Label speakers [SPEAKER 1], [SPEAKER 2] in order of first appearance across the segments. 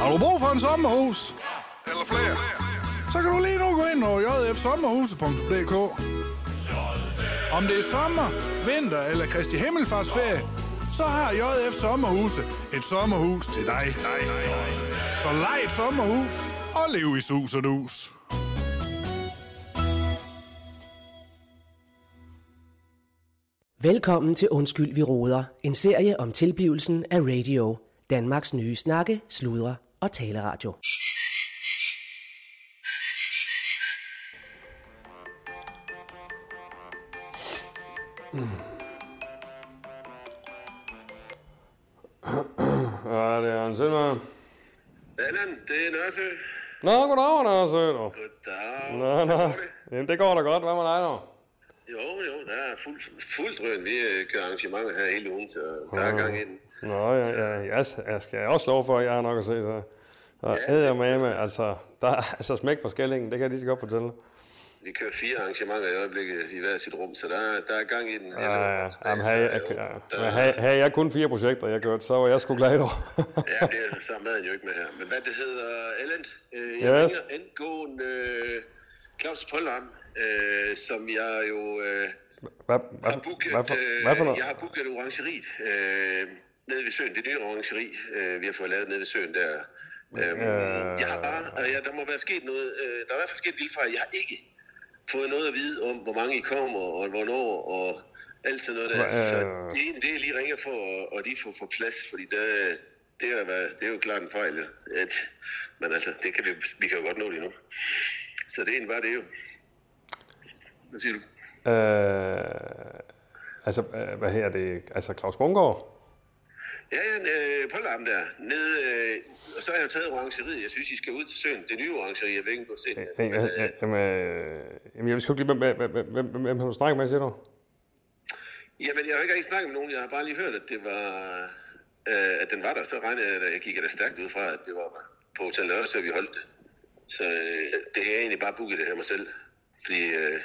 [SPEAKER 1] Har du brug for en sommerhus? Eller flere? Så kan du lige nu gå ind på jfsommerhuset.dk Om det er sommer, vinter eller Kristi Himmelfartsferie, så har JF Sommerhuse et sommerhus til dig. Så lej et sommerhus og lev i sus og dus.
[SPEAKER 2] Velkommen til Undskyld, vi råder. En serie om tilblivelsen af radio. Danmarks nye snakke, sludre og taleradio.
[SPEAKER 3] Ja, det er Jørgen Sindberg.
[SPEAKER 4] Allan, det er Nørse.
[SPEAKER 3] Nå, goddag, Anders Sønder.
[SPEAKER 4] Goddag.
[SPEAKER 3] Nå,
[SPEAKER 4] Hvordan
[SPEAKER 3] nå.
[SPEAKER 4] går det?
[SPEAKER 3] Jamen, det går da godt. Hvad med dig, dog?
[SPEAKER 4] Jo, jo, der er fuld, fuld drøn. Vi øh, kører arrangementer her hele ugen, så der er gang i den.
[SPEAKER 3] Nå, ja, ja, ja, jeg skal også lov for, at jeg har nok at se. Så. Og æder med med, altså, der er altså smæk for skællingen, det kan jeg lige så godt fortælle.
[SPEAKER 4] Vi kører fire arrangementer i øjeblikket i hver sit rum, så der, er- der er gang i den.
[SPEAKER 3] Ah, Ja, ja, jamen, havde, jeg,
[SPEAKER 4] Så, jo,
[SPEAKER 3] ja.
[SPEAKER 4] der-
[SPEAKER 3] Men havde, havde jeg kun fire projekter, jeg kørte, så var jeg sgu glad i dag.
[SPEAKER 4] Ja, det er så er maden jo ikke med her. Men hvad det hedder, Ellen, øh, jeg
[SPEAKER 3] Yes.
[SPEAKER 4] yes. ringer angående øh, Claus Pollarm, øh, som jeg jo øh,
[SPEAKER 3] Hvad, hvad,
[SPEAKER 4] har booket,
[SPEAKER 3] hvad, for, hvad for
[SPEAKER 4] øh,
[SPEAKER 3] noget?
[SPEAKER 4] jeg har booket orangeriet øh, nede ved søen. Det nye orangeri, øh, vi har fået lavet nede ved søen der. Øhm,
[SPEAKER 3] Øh.
[SPEAKER 4] Jeg har bare, øh, ja, der må være sket noget, øh, der er i hvert fald sket en lille fejl. Jeg har ikke fået noget at vide om, hvor mange I kommer, og hvornår, og alt sådan noget der.
[SPEAKER 3] Hva-
[SPEAKER 4] Så
[SPEAKER 3] øh.
[SPEAKER 4] det er en del, I ringer for, og- og de får, får plads, fordi det, det, er, hvad- det er jo klart en fejl. ja. At, men altså, det kan vi, vi kan jo godt nå det nu. Så det er egentlig bare det jo. Hvad siger du?
[SPEAKER 3] Øh, altså, øh, hvad her er det? Altså, Claus Bungård?
[SPEAKER 4] Ja, ja, øh, på larm der. Nede, øh, og så har jeg jo taget orangeriet. Jeg synes, I skal ud til søen. Det nye orangeri, jeg ved ikke, om du har set det.
[SPEAKER 3] Hey,
[SPEAKER 4] Men,
[SPEAKER 3] hvad,
[SPEAKER 4] øh,
[SPEAKER 3] jamen, øh, jamen, jeg ved sgu ikke lige, hvem, hvem, hvem, hvem, hvem, hvem har du snakket med, siger du?
[SPEAKER 4] Jamen, jeg har ikke rigtig snakket med nogen. Jeg har bare lige hørt, at det var... Øh, at den var der. Så regnede jeg, da jeg gik da stærkt ud fra, at det var på Hotel Lørdag, så vi holdt det. Så øh, det er egentlig bare booket det her mig selv. Fordi øh,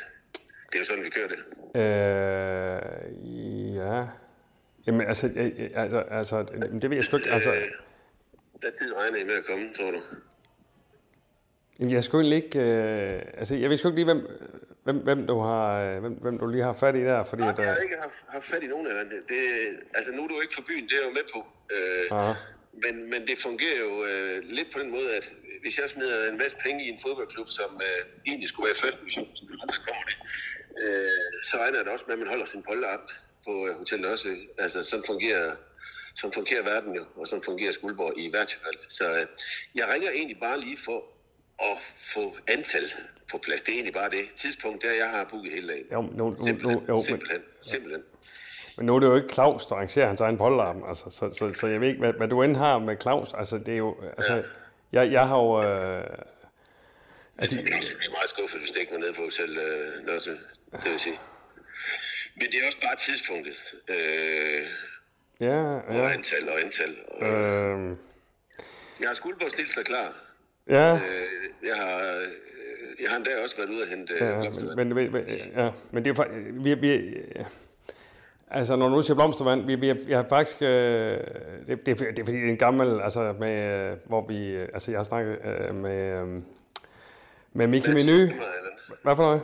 [SPEAKER 4] det er jo sådan, vi kører det.
[SPEAKER 3] Øh, ja. Jamen, altså, jeg- jeg- altså, altså, det ved jeg sgu ikke, altså,
[SPEAKER 4] Øh, Hvad tid regner I med at komme, tror du?
[SPEAKER 3] jamen, jeg skulle ikke, øh, altså, jeg ved sgu ikke lige, hvem, hvem, hvem, du har, øh, hvem, hvem du lige har fat i der, fordi at,
[SPEAKER 4] Nej, jeg har
[SPEAKER 3] øh,
[SPEAKER 4] ikke haft, haft fat i nogen af dem. Det, det, altså, nu er du ikke for byen, det er jeg jo med på.
[SPEAKER 3] Aha.
[SPEAKER 4] Øh, men, men det fungerer jo øh, lidt på den måde, at hvis jeg smider en masse penge i en fodboldklub, som øh, egentlig skulle være i første division, som aldrig kommer det, øh, så regner det også med, at man holder sin polder op på øh, Hotel Nørsø. Altså, sådan fungerer, sådan fungerer verden jo, og sådan fungerer Skuldborg i hvert fald. Så øh, jeg ringer egentlig bare lige for at få antal på plads. Det er egentlig bare det tidspunkt, der jeg har booket hele dagen.
[SPEAKER 3] Jo, men nu- nu- nu-
[SPEAKER 4] simpelthen,
[SPEAKER 3] jo, men-
[SPEAKER 4] simpelthen, simpelthen.
[SPEAKER 3] men nu er det jo ikke Claus, der arrangerer hans egen pollarm, altså, så, så, så jeg ved ikke, hvad, hvad du end har med Claus, altså, det er jo, altså, jeg, jeg har jo, øh,
[SPEAKER 4] Altså, jeg kan blive meget skuffet, hvis det ikke var nede på hotel øh, Nørsø, det vil sige. Men det er også bare tidspunktet. Øh,
[SPEAKER 3] ja,
[SPEAKER 4] og
[SPEAKER 3] ja,
[SPEAKER 4] antal og antal. Og,
[SPEAKER 3] øh,
[SPEAKER 4] Jeg har skuldborgs Nielsen klar.
[SPEAKER 3] ja,
[SPEAKER 4] Øh, jeg har, øh, jeg har endda også været ude og hente øh,
[SPEAKER 3] Ja,
[SPEAKER 4] blomster.
[SPEAKER 3] men, men, men, ja, men det er faktisk... Vi, vi, altså, når du nu siger blomstervand, vi, vi, jeg har faktisk... Øh, det, det, er- det er fordi, det er en gammel... Altså, med, øh, hvor vi... øh, Altså, jeg har snakket øh, med... Øh, med Mickey Menu. Hvad for noget?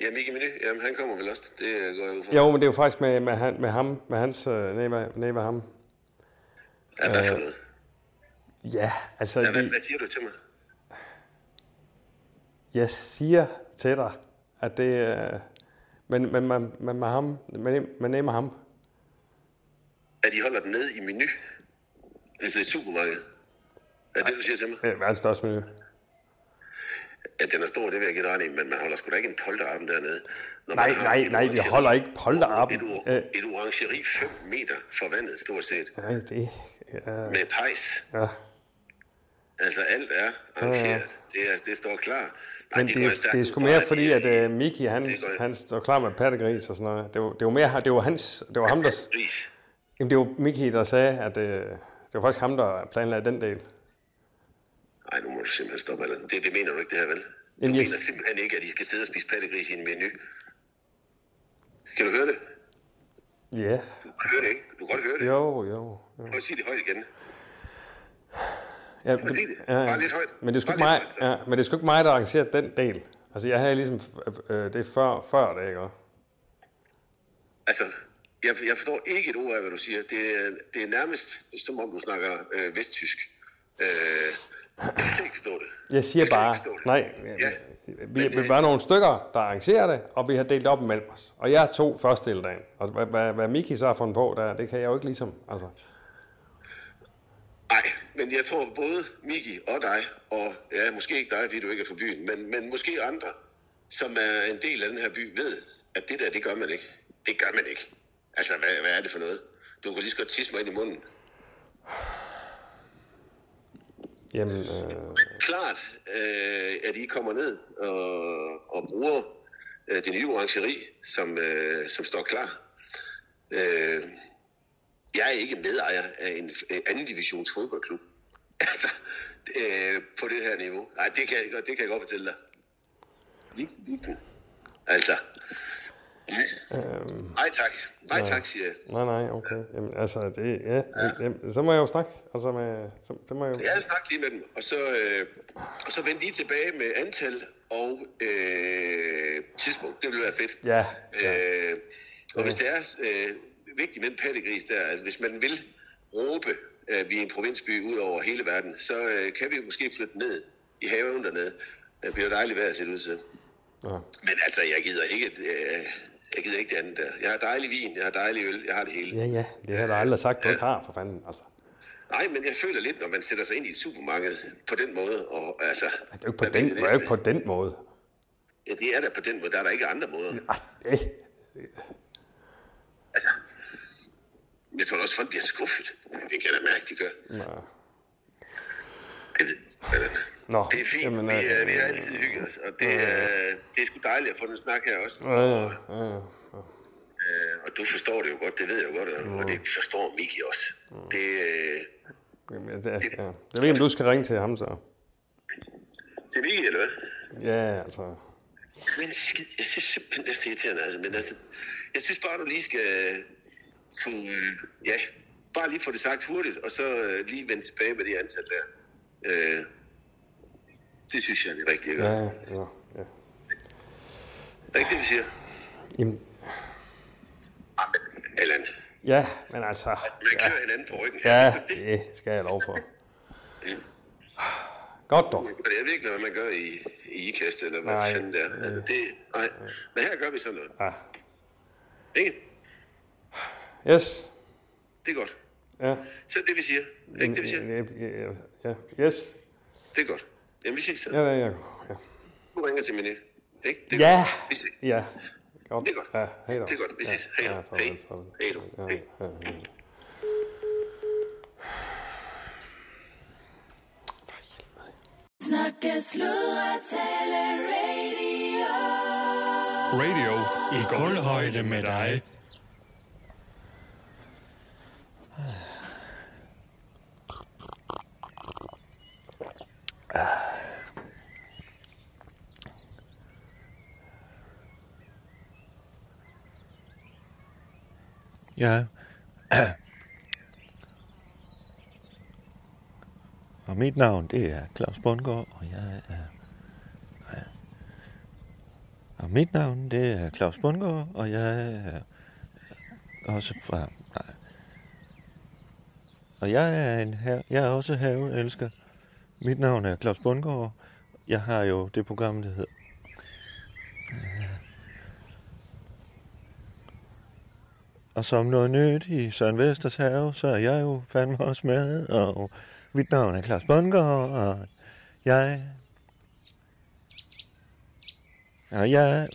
[SPEAKER 4] Ja, Mikke Meny, jamen, han kommer vel også. Det øh, går jeg ud fra.
[SPEAKER 3] Jo, men det er jo faktisk med, med, han, med ham, med hans øh, næve, næve ham.
[SPEAKER 4] Ja, hvad for noget?
[SPEAKER 3] Ja, altså,
[SPEAKER 4] Ja, hvad,
[SPEAKER 3] vi,
[SPEAKER 4] hvad siger du til mig?
[SPEAKER 3] jeg siger til dig, at det... Øh, men, men, man, man, man, ham, man, man næmer ham.
[SPEAKER 4] At I holder den nede i menu? Altså i supermarkedet? Er det, du siger til mig?
[SPEAKER 3] Øh, verdens største menu.
[SPEAKER 4] At den er stor, det vil jeg give dig ret i, men man holder sgu da ikke en polterappen dernede. Når
[SPEAKER 3] Nej,
[SPEAKER 4] man har
[SPEAKER 3] nej,
[SPEAKER 4] et
[SPEAKER 3] nej, vi
[SPEAKER 4] orangeri-
[SPEAKER 3] holder ikke polterappen.
[SPEAKER 4] Et, or-
[SPEAKER 3] Øh.
[SPEAKER 4] et orangeri 5 meter fra vandet, stort set,
[SPEAKER 3] Nej, det... Ja,
[SPEAKER 4] med pejs.
[SPEAKER 3] ja.
[SPEAKER 4] Altså, alt er arrangeret. Det, er, det står klar. Ej,
[SPEAKER 3] Men det,
[SPEAKER 4] går jeg
[SPEAKER 3] det,
[SPEAKER 4] stærkt
[SPEAKER 3] det er
[SPEAKER 4] ud
[SPEAKER 3] sgu
[SPEAKER 4] fra,
[SPEAKER 3] mere
[SPEAKER 4] at
[SPEAKER 3] fordi,
[SPEAKER 4] de-
[SPEAKER 3] at uh, Miki, han,
[SPEAKER 4] det går-
[SPEAKER 3] han står klar med pattegris og sådan noget. Det var, det var mere, det var hans, det var ham, der...
[SPEAKER 4] Gris.
[SPEAKER 3] Jamen, det var Miki, der sagde, at uh, det var faktisk ham, der planlagde den del.
[SPEAKER 4] Ej, nu må du simpelthen stoppe, Allan. Det, det mener du ikke, det her, vel? Du
[SPEAKER 3] Jamen, jeg-
[SPEAKER 4] mener simpelthen ikke, at de skal sidde og spise pattegris i en menu. Kan du høre det?
[SPEAKER 3] Ja,
[SPEAKER 4] Du kan høre det, ikke? Du kan godt høre det.
[SPEAKER 3] jo, jo. jo.
[SPEAKER 4] Prøv at sige det højt igen.
[SPEAKER 3] Ja,
[SPEAKER 4] Prøv at sige det.
[SPEAKER 3] ja, ja.
[SPEAKER 4] Bare lidt højt.
[SPEAKER 3] Men det er sgu
[SPEAKER 4] Bare
[SPEAKER 3] ikke
[SPEAKER 4] lidt
[SPEAKER 3] mig,
[SPEAKER 4] højt, så.
[SPEAKER 3] ja, men det er sgu ikke mig, der arrangerer den del. Altså, jeg havde ligesom, øh, det er før, før det, ikke også?
[SPEAKER 4] Altså, jeg, jeg forstår ikke et ord af, hvad du siger. Det er, det er nærmest, som om du snakker øh, vesttysk. Øh, jeg kan ikke forstå det.
[SPEAKER 3] Jeg siger
[SPEAKER 4] jeg kan
[SPEAKER 3] bare,
[SPEAKER 4] Ikke forstå det.
[SPEAKER 3] nej,
[SPEAKER 4] Ja. øh,
[SPEAKER 3] vi, vi var nogle stykker, der arrangerer det, og vi har delt op imellem os. Og jeg tog første del dagen. Og hvad, hvad, hvad Miki så har fundet på, der, det kan jeg jo ikke ligesom, altså.
[SPEAKER 4] Nej, men jeg tror både Miki og dig, og ja, måske ikke dig, fordi du ikke er fra byen, men, men måske andre, som er en del af den her by, ved, at det der, det gør man ikke. Det gør man ikke. Altså, hvad, hvad er det for noget? Du kan lige så godt tisse mig ind i munden.
[SPEAKER 3] Jamen, øh,
[SPEAKER 4] klart, øh, at I kommer ned og, og bruger øh, det nye orangeri, som, øh, som står klar. Øh, jeg er ikke medejer af en øh, anden divisions fodboldklub. altså, øh, på det her niveau. Nej, det kan jeg godt, det kan jeg godt fortælle dig. Lige- lige- Altså. Nej tak. Nej tak, siger jeg.
[SPEAKER 3] nej, nej, okay. Jamen, altså, det, ja, jamen, så må jeg jo snakke. Altså, med, så, så må jeg jo...
[SPEAKER 4] Ja, snak lige med dem. Og så, øh, og så vend lige tilbage med antal og øh, tidspunkt. Det ville være fedt.
[SPEAKER 3] Ja,
[SPEAKER 4] Øh, og hvis det er øh, vigtigt med en pattegris der, at hvis man vil råbe, at vi er en provinsby ud over hele verden, så øh, kan vi jo måske flytte ned i haven dernede. Det bliver dejligt vejr at se ud til.
[SPEAKER 3] ja.
[SPEAKER 4] Men altså, jeg gider ikke, øh, jeg gider ikke det andet der. Jeg har dejlig vin, jeg har dejlig øl, jeg har det hele.
[SPEAKER 3] Ja, ja, det har jeg da aldrig sagt, du ikke har, for fanden, altså.
[SPEAKER 4] Nej, men jeg føler lidt, når man sætter sig ind i et supermarked på den måde, og altså...
[SPEAKER 3] Det er jo ikke på
[SPEAKER 4] hvad
[SPEAKER 3] den,
[SPEAKER 4] bliver
[SPEAKER 3] det er jo
[SPEAKER 4] næste?
[SPEAKER 3] ikke på den måde.
[SPEAKER 4] Ja, det er der på den måde. Der er der ikke andre måder.
[SPEAKER 3] Ej, det,
[SPEAKER 4] Jeg tror da også, folk bliver skuffet. Det kan jeg da mærke, de gør.
[SPEAKER 3] nej.
[SPEAKER 4] Jeg ved- jeg ved-
[SPEAKER 3] Nå,
[SPEAKER 4] Det er fint. Jamen, vi,
[SPEAKER 3] øh,
[SPEAKER 4] øh, vi har altid hygget os, og det, øh, det er sgu dejligt at få den snak her også.
[SPEAKER 3] Ja, ja, ja, ja.
[SPEAKER 4] Øh, Og du forstår det jo godt, det ved jeg jo godt, og og det forstår Miki også. Det, øh,
[SPEAKER 3] Jamen, ja, det, er- ja. Jeg ved ikke, om du skal ringe til ham så.
[SPEAKER 4] det er Miki, eller hvad?
[SPEAKER 3] Ja, altså.
[SPEAKER 4] Men skid, jeg synes simpelthen, det er så irriterende, altså. Men altså, jeg synes bare, du lige skal få, øh, ja, bare lige få det sagt hurtigt, og så øh, lige vende tilbage med det antal der. Øh, det synes jeg er det rigtige at gøre.
[SPEAKER 3] Ja,
[SPEAKER 4] Ja.
[SPEAKER 3] ja, ja.
[SPEAKER 4] Er det ikke det, vi siger?
[SPEAKER 3] Jamen,
[SPEAKER 4] Allan,
[SPEAKER 3] ja, men altså.
[SPEAKER 4] man klør hinanden på ryggen. her,
[SPEAKER 3] Ja,
[SPEAKER 4] hvis du- det-
[SPEAKER 3] det skal jeg lov for. Godt dog.
[SPEAKER 4] Og Jeg ved ikke, hvad man gør i, i IKAST, eller hvad
[SPEAKER 3] Nej.
[SPEAKER 4] fanden det er. Altså, det, nej. Men her gør vi sådan noget.
[SPEAKER 3] Ja.
[SPEAKER 4] Ikke?
[SPEAKER 3] Yes.
[SPEAKER 4] Det er godt.
[SPEAKER 3] Ja.
[SPEAKER 4] Så er det, vi siger. Er det Ikke det, vi siger?
[SPEAKER 3] Ja, ja, ja. Yes.
[SPEAKER 4] Det er godt. Jamen, vi ses så.
[SPEAKER 3] Ja, ja, ja. Ja.
[SPEAKER 4] Du ringer til Miné. Ikke? Det er
[SPEAKER 3] Ja.
[SPEAKER 4] godt. Vi ses.
[SPEAKER 3] Ja. Godt.
[SPEAKER 4] Det er godt.
[SPEAKER 3] Ja, hej da.
[SPEAKER 4] Det er godt. Vi
[SPEAKER 3] Ja,
[SPEAKER 4] ses. Hej da.
[SPEAKER 3] ja, farvel,
[SPEAKER 4] Hej.
[SPEAKER 3] farvel.
[SPEAKER 4] Hej du.
[SPEAKER 3] Ja,
[SPEAKER 4] Hej.
[SPEAKER 3] ja, ja.
[SPEAKER 5] Snakke, sludre, tale, radio.
[SPEAKER 6] Radio i guldhøjde med dig.
[SPEAKER 7] Ja. Og mit navn, det er Claus Bundgaard, og jeg er... Ja. Og mit navn, det er Claus Bundgaard, og jeg er også fra... Nej. Og jeg er, en have, jeg er også haveelsker. Mit navn er Claus Bundgaard. Jeg har jo det program, der hedder Og som noget nyt i Søren Vesters have, så er jeg jo fandme også med, og mit navn er Claus Bundgaard, og jeg... Og jeg...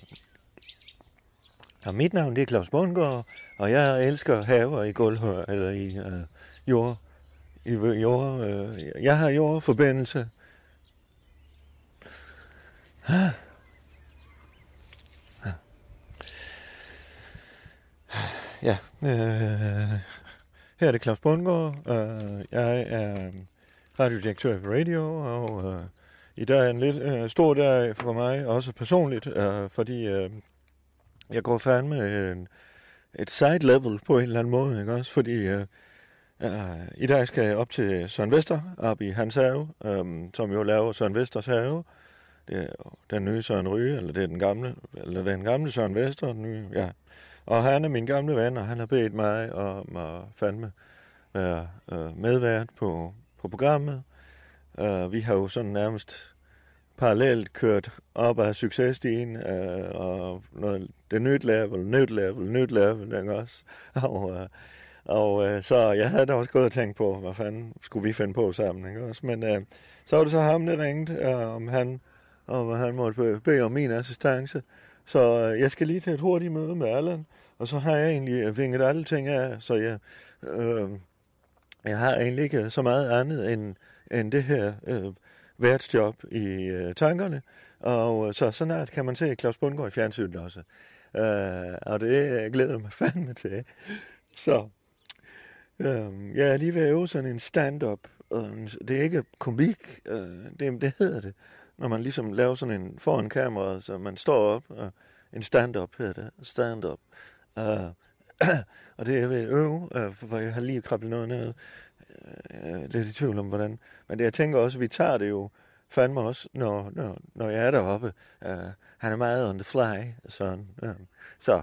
[SPEAKER 7] Og mit navn, det er Claus Bundgaard, og jeg elsker haver i gulvhør, eller i øh, jord... I øh, jord øh, jeg har jordforbindelse. Ja, øh, her er det Claus Bundgaard. Øh, jeg er radiodirektør på radio, og øh, i dag er en lidt øh, stor dag for mig, også personligt, øh, fordi øh, jeg går fandme en, et side level på en eller anden måde, ikke også? Fordi øh, Uh, I dag skal jeg op til Søren Vester, op i hans have, um, som jo laver Søren Vesters have. Det er jo den nye Søren Ryge, eller det er den gamle, eller den gamle Søren Vester, den nye, ja. Og han er min gamle ven, og han har bedt mig om at fandme være uh, medvært på, på programmet. Uh, vi har jo sådan nærmest parallelt kørt op ad successtigen, øh, og noget, det nyt level, nyt level, nyt level, ikke også? Og, øh, og øh, så jeg havde da også gået og tænkt på, hvad fanden skulle vi finde på sammen, ikke også? Men øh, så var det så ham, der ringte, øh, om han, om han måtte be- bede om min assistance. Så øh, jeg skal lige til et hurtigt møde med Allan, og så har jeg egentlig øh, vinget alle ting af, så jeg, øh, jeg har egentlig ikke så meget andet end, end det her øh, værtsjob i øh, tankerne, og øh, så snart kan man se Claus Bundgaard i fjernsynet også. Øh, og det øh, glæder jeg mig fandme til. Så øh, jeg er lige ved at øve sådan en stand-up. Øh, det er ikke komik, øh, det, det hedder det, når man ligesom laver sådan en foran kameraet, så man står op, og en stand-up hedder det, stand-up. Øh, og det er jeg ved at øve, øh, for jeg har lige krabbet noget ned øh, lidt i tvivl om, hvordan... Men det, jeg tænker også, at vi tager det jo fandme også, når, når, når jeg er deroppe. Uh, han er meget on the fly, sådan. Uh, så,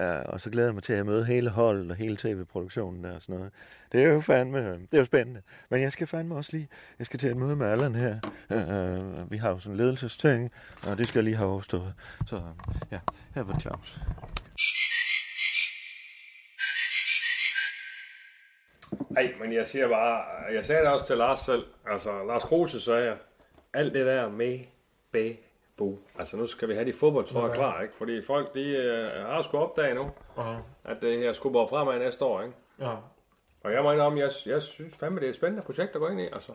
[SPEAKER 7] uh, og så glæder jeg mig til at møde hele holdet og hele tv-produktionen der og sådan noget. Det er jo fandme, øh, det er jo spændende. Men jeg skal fandme også lige, jeg skal til et møde med Allan her. Uh, vi har jo sådan en ledelsesting, og det skal jeg lige have overstået. Så øh, ja, her var det Claus.
[SPEAKER 8] Nej, men jeg siger bare, jeg sagde det også til Lars selv, altså Lars Kruse sagde, jeg, alt det der med bag bo. Altså nu skal vi have de fodboldtrøjer okay. klar, ikke? Fordi folk, de øh, har sgu opdaget nu, uh-huh. at det her skubber fremad næste år, ikke?
[SPEAKER 3] Ja.
[SPEAKER 8] Og jeg mener om, jeg, jeg synes fandme, det er et spændende projekt at gå ind i, altså.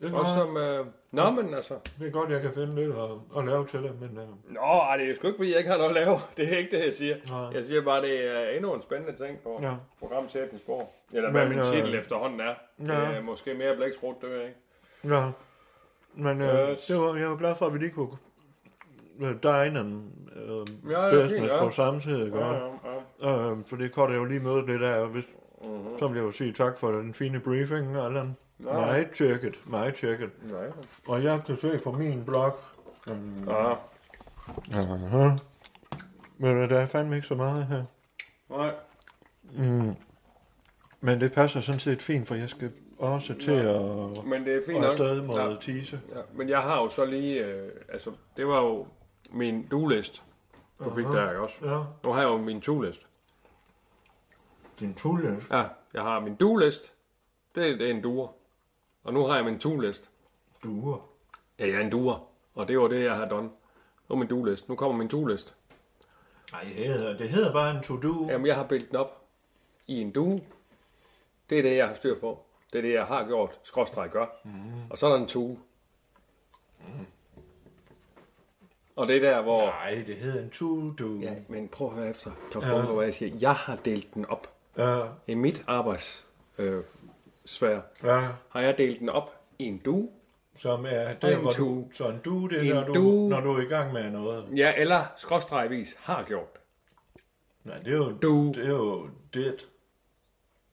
[SPEAKER 8] Det er også som, øh, nå, men altså,
[SPEAKER 3] Det er godt, jeg kan finde lidt at, at lave til det, men øh,
[SPEAKER 8] nå, ej, det er sgu ikke, fordi jeg ikke har noget at lave. Det er ikke det, jeg siger.
[SPEAKER 3] Nej.
[SPEAKER 8] Jeg siger bare, det er endnu en spændende ting på ja.
[SPEAKER 3] Ja.
[SPEAKER 8] programchefens bord. Eller hvad
[SPEAKER 3] Men,
[SPEAKER 8] min
[SPEAKER 3] øh,
[SPEAKER 8] titel efterhånden er. Det
[SPEAKER 3] ja.
[SPEAKER 8] er måske mere blæksprut, det ved jeg ikke.
[SPEAKER 3] ja. Men øh,
[SPEAKER 8] Yes.
[SPEAKER 3] det var, jeg var glad for, at vi lige kunne øh, dine en øh,
[SPEAKER 8] Ja,
[SPEAKER 3] ja,
[SPEAKER 8] det er
[SPEAKER 3] business
[SPEAKER 8] fint,
[SPEAKER 3] fint,
[SPEAKER 8] ja.
[SPEAKER 3] ja. på samme tid, ikke? Ja,
[SPEAKER 8] ja, ja.
[SPEAKER 3] ja. Øh, for det korte jeg jo lige møde det der, og hvis, mm-hmm. så vil jeg jo sige tak for den fine briefing, Allan. Meget tjekket, meget tjekket.
[SPEAKER 8] Nej.
[SPEAKER 3] Og jeg kan se på min blog,
[SPEAKER 8] Ja.
[SPEAKER 3] uh-huh. men øh, der er fandme ikke så meget her.
[SPEAKER 8] Nej.
[SPEAKER 3] Men det passer sådan set fint, for jeg skal også til at...
[SPEAKER 8] Men det er fint
[SPEAKER 3] Og
[SPEAKER 8] nok.
[SPEAKER 3] afsted mod
[SPEAKER 8] Ja.
[SPEAKER 3] ja. Tise.
[SPEAKER 8] Ja, men jeg har jo så lige, øh, altså det var jo min do-list, du fik der ikke også.
[SPEAKER 3] Ja.
[SPEAKER 8] Nu har jeg jo min to-list.
[SPEAKER 3] Din tulle.
[SPEAKER 8] Ja, jeg har min do-list, det, det er en duer. Og nu har jeg min to-list.
[SPEAKER 3] Duer.
[SPEAKER 8] Ja, jeg er en duer, og det var det, jeg har done. Nu er min do-list, nu kommer min to-list.
[SPEAKER 3] Nej, det hedder, det hedder bare en to-do.
[SPEAKER 8] Jamen, jeg har bildt den op i en due. Det er det, jeg har styr på. Det er det, jeg har gjort, skråstreg gør. Mm. Og så er der en tue. Og det er der, hvor...
[SPEAKER 3] Nej, det hedder en to-do.
[SPEAKER 8] Ja, men prøv at høre efter, Claus Bunker, hvad jeg siger. Jeg har delt den op.
[SPEAKER 3] Ja.
[SPEAKER 8] I mit arbejdssfære øh, sfære
[SPEAKER 3] ja.
[SPEAKER 8] har jeg delt den op i en due.
[SPEAKER 3] Som er
[SPEAKER 8] Og
[SPEAKER 3] der,
[SPEAKER 8] en
[SPEAKER 3] hvor du...
[SPEAKER 8] to.
[SPEAKER 3] Så en du, det
[SPEAKER 8] En
[SPEAKER 3] er,
[SPEAKER 8] do.
[SPEAKER 3] når du, når du er i gang med noget.
[SPEAKER 8] Ja, eller skråstregvis har gjort det.
[SPEAKER 3] Nej, det er jo...
[SPEAKER 8] Do.
[SPEAKER 3] Det er jo det.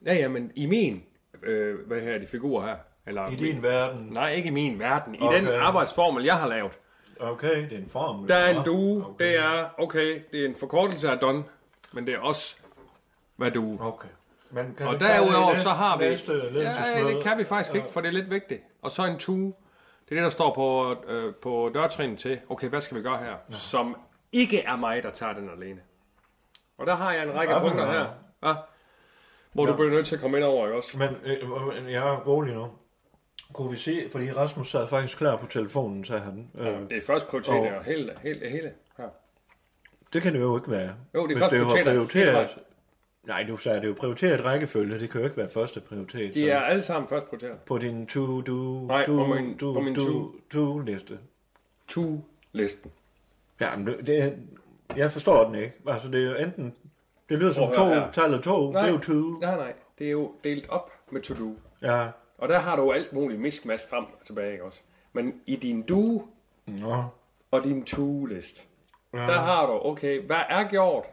[SPEAKER 8] Ja, ja, men i min, øh, hvad her er de figurer her? Eller
[SPEAKER 3] I din verden.
[SPEAKER 8] Nej, ikke i min verden. I okay.
[SPEAKER 3] Okay.
[SPEAKER 8] den arbejdsformel, jeg har lavet.
[SPEAKER 3] Okay, det er en form.
[SPEAKER 8] Der er en due,
[SPEAKER 3] Okay.
[SPEAKER 8] det er, okay, det er en forkortelse af don, men det er også, hvad du...
[SPEAKER 3] Okay. Men kan
[SPEAKER 8] Og
[SPEAKER 3] vi tage det i
[SPEAKER 8] derudover
[SPEAKER 3] næste-
[SPEAKER 8] så har vi...
[SPEAKER 3] Næste
[SPEAKER 8] ja, det kan vi faktisk ikke, for det er lidt vigtigt. Og så en tue. Det er det, der står på, øh, på dørtrin til, okay, hvad skal vi gøre her? Ja. Som ikke er mig, der tager den alene. Og der har jeg en række
[SPEAKER 3] Hvad for
[SPEAKER 8] punkter her,
[SPEAKER 3] noget?
[SPEAKER 8] ja, hvor ja. du bliver nødt til at komme ind over, ikke også?
[SPEAKER 3] Men øh, øh, jeg er rolig nu. Kunne vi se, fordi Rasmus sad faktisk klar på telefonen, sagde han. Øh,
[SPEAKER 8] Det er først prioritet,
[SPEAKER 3] Og-
[SPEAKER 8] og hele, hele, hele her.
[SPEAKER 3] Det kan det jo ikke være.
[SPEAKER 8] Jo, det er
[SPEAKER 3] Hvis
[SPEAKER 8] først
[SPEAKER 3] det var
[SPEAKER 8] prioriteter.
[SPEAKER 3] prioriteret.
[SPEAKER 8] Helt
[SPEAKER 3] Nej, du sagde, det er jo prioriteret rækkefølge. Det kan jo ikke være første prioritet.
[SPEAKER 8] De
[SPEAKER 3] så.
[SPEAKER 8] er alle sammen først prioriteret.
[SPEAKER 3] På din to do
[SPEAKER 8] Nej,
[SPEAKER 3] do,
[SPEAKER 8] på min-
[SPEAKER 3] do,
[SPEAKER 8] på min
[SPEAKER 3] do,
[SPEAKER 8] to.
[SPEAKER 3] do liste.
[SPEAKER 8] Tue-listen.
[SPEAKER 3] Ja, men det, det, er- jeg forstår den ikke. Altså, det er jo enten... Det lyder som
[SPEAKER 8] Prøv at høre her.
[SPEAKER 3] to, tallet to, det er jo to.
[SPEAKER 8] nej, nej. Det er jo delt op med to-do.
[SPEAKER 3] Ja,
[SPEAKER 8] Og der har du jo alt muligt miskmask frem og tilbage, ikke også? Men i din do
[SPEAKER 3] nå.
[SPEAKER 8] og din to-list, ja. der har du, okay, hvad er gjort?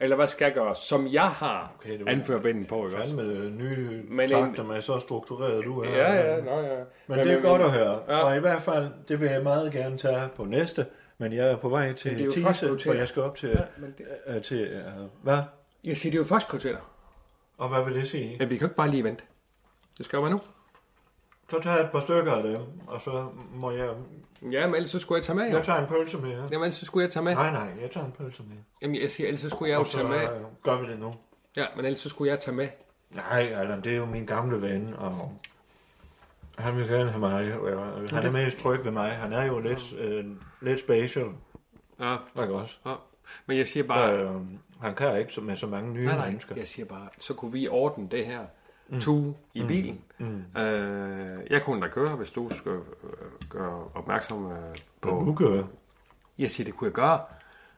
[SPEAKER 8] eller hvad skal jeg gøre, som jeg har
[SPEAKER 7] det
[SPEAKER 8] okay,
[SPEAKER 7] var-
[SPEAKER 8] anførbinden på, ikke også?
[SPEAKER 7] Fandme øh, nye
[SPEAKER 8] Men
[SPEAKER 7] Men
[SPEAKER 8] en-
[SPEAKER 7] takter med så struktureret du er.
[SPEAKER 8] Ja, ja, nå, ja.
[SPEAKER 7] Men det er godt at høre. Ja. Og i hvert fald, det vil jeg meget gerne tage på næste. Men jeg er på vej
[SPEAKER 8] det er
[SPEAKER 7] til
[SPEAKER 8] jo første
[SPEAKER 7] Tise,
[SPEAKER 8] hotel.
[SPEAKER 7] for jeg skal op til...
[SPEAKER 8] Ja, men det-
[SPEAKER 7] øh, til øh, hvad?
[SPEAKER 8] Jeg siger, det er jo først kvarterer.
[SPEAKER 7] Og hvad vil det sige?
[SPEAKER 8] Men vi kan jo ikke bare lige vente. Det skal jo være nu.
[SPEAKER 7] Så tager jeg et par stykker af dem, og så må jeg...
[SPEAKER 8] Ja, men ellers så skulle jeg tage med, jo.
[SPEAKER 7] Jeg tager en pølse med. Ja.
[SPEAKER 8] Jamen, ellers så skulle jeg tage med.
[SPEAKER 7] Nej, nej, jeg tager en pølse med.
[SPEAKER 8] Jamen, jeg siger, ellers så skulle jeg jo
[SPEAKER 7] Og så
[SPEAKER 8] tage med.
[SPEAKER 7] øh, gør vi det nu.
[SPEAKER 8] Ja, men ellers så skulle jeg tage med.
[SPEAKER 7] Nej, Allan, det er jo min gamle ven, og han vil gerne have mig. øh, Han er mest tryg ved mig. Han er jo lidt, øh, lidt special,
[SPEAKER 8] Ja,
[SPEAKER 7] ikke også?
[SPEAKER 8] ja. Men jeg siger bare...
[SPEAKER 7] Øh, han kan ikke så- med så mange nye
[SPEAKER 8] Nej, nej,
[SPEAKER 7] mennesker.
[SPEAKER 8] jeg siger bare, så kunne vi ordne det her mm. tue i bilen. Mm. Øh, jeg kunne da køre, hvis du skal øh, gøre opmærksom øh, på...
[SPEAKER 7] Nu gør jeg.
[SPEAKER 8] Jeg siger, det kunne jeg gøre.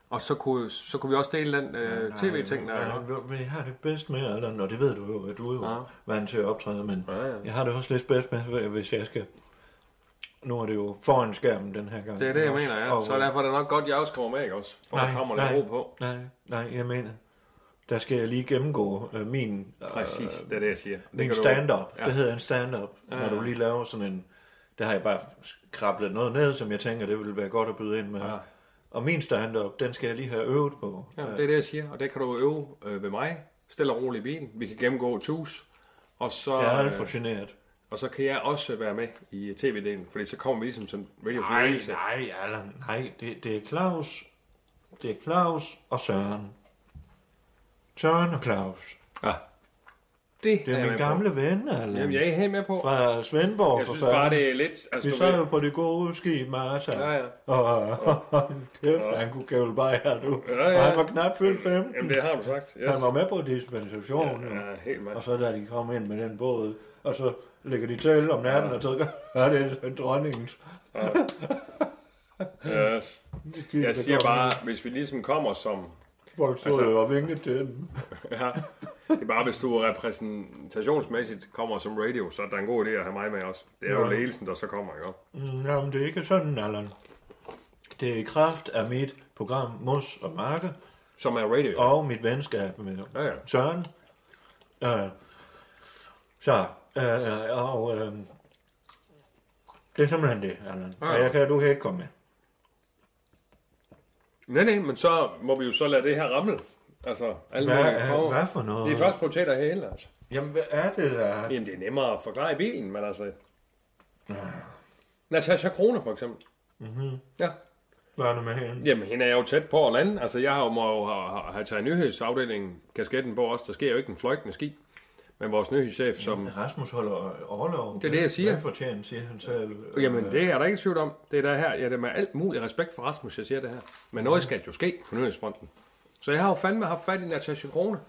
[SPEAKER 8] Og så kunne, så kunne vi også dele den øh, tv-ting, der er.
[SPEAKER 7] Ja, men jeg har det bedst med, Allan, og det ved du jo, at du er jo
[SPEAKER 8] Ja.
[SPEAKER 7] ja. vant til at optræde, men ja, ja. jeg har det også lidt bedst med, hvis jeg skal... Nu er det jo foran skærmen den her gang.
[SPEAKER 8] Det er det, jeg mener, ja.
[SPEAKER 7] Og-
[SPEAKER 8] Så derfor er det nok godt, jeg også kommer med, ikke også? For der kommer lidt ro på.
[SPEAKER 7] Nej, nej, jeg mener, der skal jeg lige gennemgå øh, min,
[SPEAKER 8] Præcis, det er det, jeg siger. Øh, Det
[SPEAKER 7] min
[SPEAKER 8] kan du-
[SPEAKER 7] stand-up.
[SPEAKER 8] Ja.
[SPEAKER 7] Det hedder en stand-up, ja. når du lige laver sådan en... Der har jeg bare krablet noget ned, som jeg tænker, det ville være godt at byde ind med. Ja. Og min stand-up, den skal jeg lige have øvet på. Øh,
[SPEAKER 8] Ja, det er det, jeg siger, og det kan du øve øh, ved mig. Stille og roligt i bilen. Vi kan gennemgå tus. Og så,
[SPEAKER 7] Jeg er alt
[SPEAKER 8] øh,
[SPEAKER 7] for generet.
[SPEAKER 8] og så kan jeg også være med i tv-delen, fordi så kommer vi ligesom som radio
[SPEAKER 7] Nej, nej, Allan. Nej, det, det er Claus. Det er Claus og Søren. Søren og Claus.
[SPEAKER 8] Ja. Det,
[SPEAKER 7] Det er
[SPEAKER 8] jeg
[SPEAKER 7] min
[SPEAKER 8] med på.
[SPEAKER 7] gamle ven, Allan.
[SPEAKER 8] Jamen, jeg er helt med på.
[SPEAKER 7] Fra Svendborg,
[SPEAKER 8] Jeg
[SPEAKER 7] for
[SPEAKER 8] synes bare,
[SPEAKER 7] fanden.
[SPEAKER 8] det er lidt... Altså,
[SPEAKER 7] Vi
[SPEAKER 8] du
[SPEAKER 7] sad
[SPEAKER 8] ved,
[SPEAKER 7] jo på det gode skib, Martha.
[SPEAKER 8] Ja, ja.
[SPEAKER 7] Og, og kæft, han kunne kævle bare her, du.
[SPEAKER 8] Ja, ja.
[SPEAKER 7] Og han var knap fyldt 15.
[SPEAKER 8] jamen, det har du sagt. Yes.
[SPEAKER 7] Han var med på dispensation.
[SPEAKER 8] Ja, helt med.
[SPEAKER 7] Og så da de kom ind med den båd, og så lægger de til om natten, og så gør det er dronningens.
[SPEAKER 8] Yes. Jeg siger bare, altså- hvis vi ligesom kommer som...
[SPEAKER 7] Folk så jo og vinkede til den.
[SPEAKER 8] Ja, det er bare, hvis du repræsentationsmæssigt kommer som radio, så er det en god idé at have mig med også. Det er jo
[SPEAKER 7] Ja.
[SPEAKER 8] ledelsen, der så kommer, ikke?
[SPEAKER 7] Mm, Jamen, det er ikke sådan, Allan. Det er i kraft af mit program Mos og Marke,
[SPEAKER 8] Som er radio.
[SPEAKER 7] og mit venskab med
[SPEAKER 8] Ja, ja.
[SPEAKER 7] Søren. Øh, så, øh, øh, og øh, det er simpelthen det, Allan.
[SPEAKER 8] Ja,
[SPEAKER 7] Ja.
[SPEAKER 8] ja.
[SPEAKER 7] Og jeg kan, du kan ikke komme med.
[SPEAKER 8] Nej, nej, men så må vi jo så lade det her ramle. Altså, alle
[SPEAKER 7] Hvad
[SPEAKER 8] mulige
[SPEAKER 7] er-
[SPEAKER 8] kroge.
[SPEAKER 7] hvad for noget?
[SPEAKER 8] Det er først prioritet af hele, altså.
[SPEAKER 7] Jamen, hvad er det der?
[SPEAKER 8] Jamen, det er nemmere at forklare i bilen, men altså... Natasha Krone, for eksempel. Mm-hmm. Ja.
[SPEAKER 7] Hvad er det med hende?
[SPEAKER 8] Jamen, hende er jeg jo tæt på at lande. Altså, jeg har jo må jo have, have, have taget nyhedsafdelingen, kasketten på os. Der sker jo ikke en fløjtende ski. Men vores nyhedschef, som...
[SPEAKER 7] Rasmus holder overlov.
[SPEAKER 8] Det er det, jeg siger.
[SPEAKER 7] Hvad fortjener, siger han selv.
[SPEAKER 8] Jamen, det er der ikke tvivl om. Det er der her. Ja, det er med alt mulig respekt for Rasmus, jeg siger det her. Men noget skal jo ske på nyhedsfronten. Så jeg har jo fandme haft fat i Natasha Krone.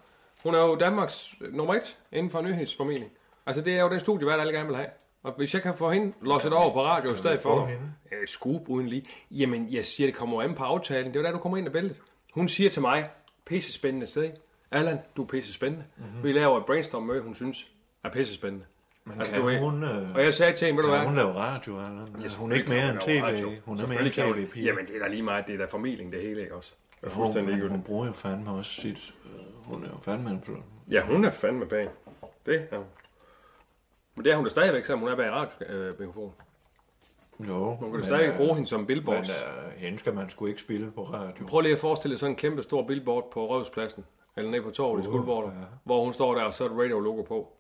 [SPEAKER 8] Hun er jo Danmarks øh, nummer et inden for nyhedsformidling. Altså, det er jo den studie, hvad alle gerne vil have. Og hvis jeg kan få hende losset over på radio i stedet
[SPEAKER 7] få
[SPEAKER 8] for
[SPEAKER 7] hende?
[SPEAKER 8] øh, skub uden lige, jamen, jeg siger, det kommer jo an på aftalen. Det er jo der, du kommer ind i billedet. Hun siger til mig, pisse spændende sted, ikke? Allan, du er pisse spændende.
[SPEAKER 7] Mhm.
[SPEAKER 8] Mm-hmm. Vi laver et brainstorm-møde, hun synes er pisse spændende. Altså,
[SPEAKER 7] kan
[SPEAKER 8] du ved-
[SPEAKER 7] hun, øh,
[SPEAKER 8] og jeg sagde til hende, ved du hvad?
[SPEAKER 7] Hun laver radio, Allan. Altså, hun er ikke
[SPEAKER 8] Selvfølgelig
[SPEAKER 7] mere
[SPEAKER 8] kan
[SPEAKER 7] end
[SPEAKER 8] hun lave
[SPEAKER 7] tv.
[SPEAKER 8] radio.
[SPEAKER 7] Hun er mere en
[SPEAKER 8] Selvfølgelig kan hun-
[SPEAKER 7] tv-pige.
[SPEAKER 8] Jamen, det er da lige meget. Det er da formidling, det hele, ikke også? Det er fuldstændig
[SPEAKER 7] Hun, hun
[SPEAKER 8] ligegyldigt.
[SPEAKER 7] bruger jo fandme også sit... øh, Hun er jo fandme en flot.
[SPEAKER 8] Ja, hun er fandme bag. Det er hun. Men det er hun da stadigvæk, selvom hun er bag radiomikrofonen.
[SPEAKER 7] Jo. øh,
[SPEAKER 8] Hun kan da stadigvæk bruge hende som
[SPEAKER 7] Men
[SPEAKER 8] billboard.
[SPEAKER 7] øh, hende skal man sgu ikke spille på radio.
[SPEAKER 8] Prøv lige at forestille dig sådan en kæmpe stor billboard på Rødhuspladsen. Eller nede på torvet i Skuldborg. Hvor hun står der, og så er et radio-logo på.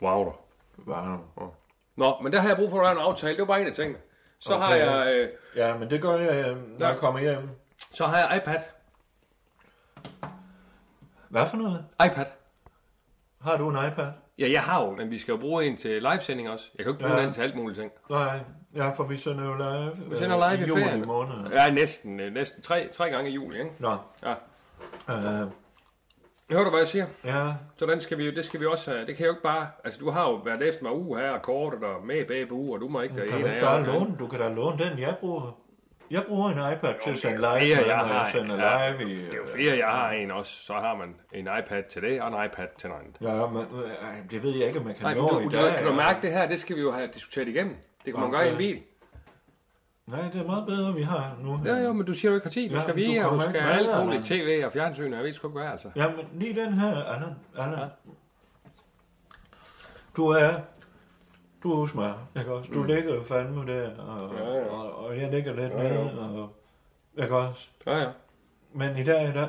[SPEAKER 8] Mhm. Wow, da.
[SPEAKER 7] Wow.
[SPEAKER 8] Nå, men der har jeg brug for at lave en aftale. Det var bare en af tingene. Så har
[SPEAKER 7] Okay.
[SPEAKER 8] jeg... Øh,
[SPEAKER 7] Ja, men det gør jeg, øh, når
[SPEAKER 8] Ja.
[SPEAKER 7] jeg kommer hjem.
[SPEAKER 8] så har jeg iPad.
[SPEAKER 7] Hvad for noget?
[SPEAKER 8] iPad.
[SPEAKER 7] Har du en iPad?
[SPEAKER 8] Ja, jeg har jo, men vi skal jo bruge en til livesending også. Jeg kan jo ikke bruge ja.
[SPEAKER 7] Ja.
[SPEAKER 8] den til alt muligt ting.
[SPEAKER 7] Nej, ja, for vi sender jo live.
[SPEAKER 8] Vi sender live i,
[SPEAKER 7] juli
[SPEAKER 8] ferien.
[SPEAKER 7] måned.
[SPEAKER 8] Ja, næsten. øh, Næsten tre, tre gange i juli, ikke?
[SPEAKER 7] Nå,
[SPEAKER 8] Ja.
[SPEAKER 7] øh,
[SPEAKER 8] Hører du, hvad jeg siger?
[SPEAKER 7] ja,
[SPEAKER 8] Så den skal vi, jo- det skal vi også have. Det kan jeg jo ikke bare... Altså, du har jo været efter mig uge her, og kortet og med bag på uge, og du må ikke...
[SPEAKER 7] kan du ikke bare låne? Du kan da låne den, jeg bruger. Jeg bruger en iPad til at sende live, med,
[SPEAKER 8] Flere, jeg
[SPEAKER 7] når jeg
[SPEAKER 8] har en,
[SPEAKER 7] sender
[SPEAKER 8] ja,
[SPEAKER 7] live i... øh,
[SPEAKER 8] det er jo flere, jeg har en også. Så har man en iPad til det, og en iPad til noget andet.
[SPEAKER 7] Ja, men, øh, ej, det ved jeg ikke, om man kan
[SPEAKER 8] Nej, men
[SPEAKER 7] nå
[SPEAKER 8] du,
[SPEAKER 7] i
[SPEAKER 8] du,
[SPEAKER 7] dag. øh.
[SPEAKER 8] kan du mærke det her? Det skal vi jo have diskuteret igennem. Det kan man gøre i en bil.
[SPEAKER 7] Nej, det er meget bedre, vi har nu.
[SPEAKER 8] Ja, jo, men du siger, du ikke har tid. Du
[SPEAKER 7] Ja,
[SPEAKER 8] skal
[SPEAKER 7] men du
[SPEAKER 8] via, og du
[SPEAKER 7] kommer
[SPEAKER 8] skal
[SPEAKER 7] ikke
[SPEAKER 8] have
[SPEAKER 7] med,
[SPEAKER 8] alt muligt
[SPEAKER 7] Allan.
[SPEAKER 8] tv og fjernsyn, og jeg ved sgu ikke hvad, altså.
[SPEAKER 7] Jamen, lige den her, Anna. Anna. Ja. Du er... Du er usmør, ikke også? Du mm. ligger jo fandme der, og, ja, ja. og, og jeg ligger lidt ja, nede, og... Ikke også?
[SPEAKER 8] Ja, ja.
[SPEAKER 7] Men i dag, der,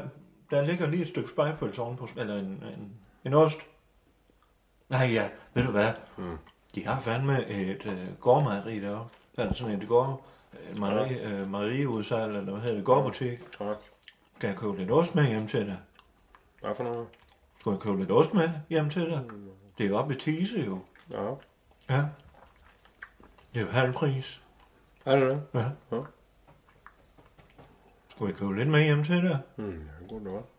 [SPEAKER 7] der ligger lige et stykke spejpølse ovenpå, eller en, en, en ost. Nej, ja, ved du hvad? Mm. De har fandme et øh, gårdmejeri deroppe. Eller sådan et gård, et mejeri, øh, mejeriudsalg, eller hvad hedder det, gårdbutik.
[SPEAKER 8] Ja.
[SPEAKER 7] Skal jeg købe lidt ost med hjem til dig?
[SPEAKER 8] Hvad for noget?
[SPEAKER 7] Skal jeg købe lidt ost med hjem til dig? Det er oppe i Tise jo.
[SPEAKER 8] Ja.
[SPEAKER 7] Ja. Det er jo halv pris.
[SPEAKER 8] Er det det?
[SPEAKER 7] Ja.
[SPEAKER 8] Ja.
[SPEAKER 7] Skulle jeg købe lidt med hjem til dig?
[SPEAKER 8] Hmm, ja, godt nok.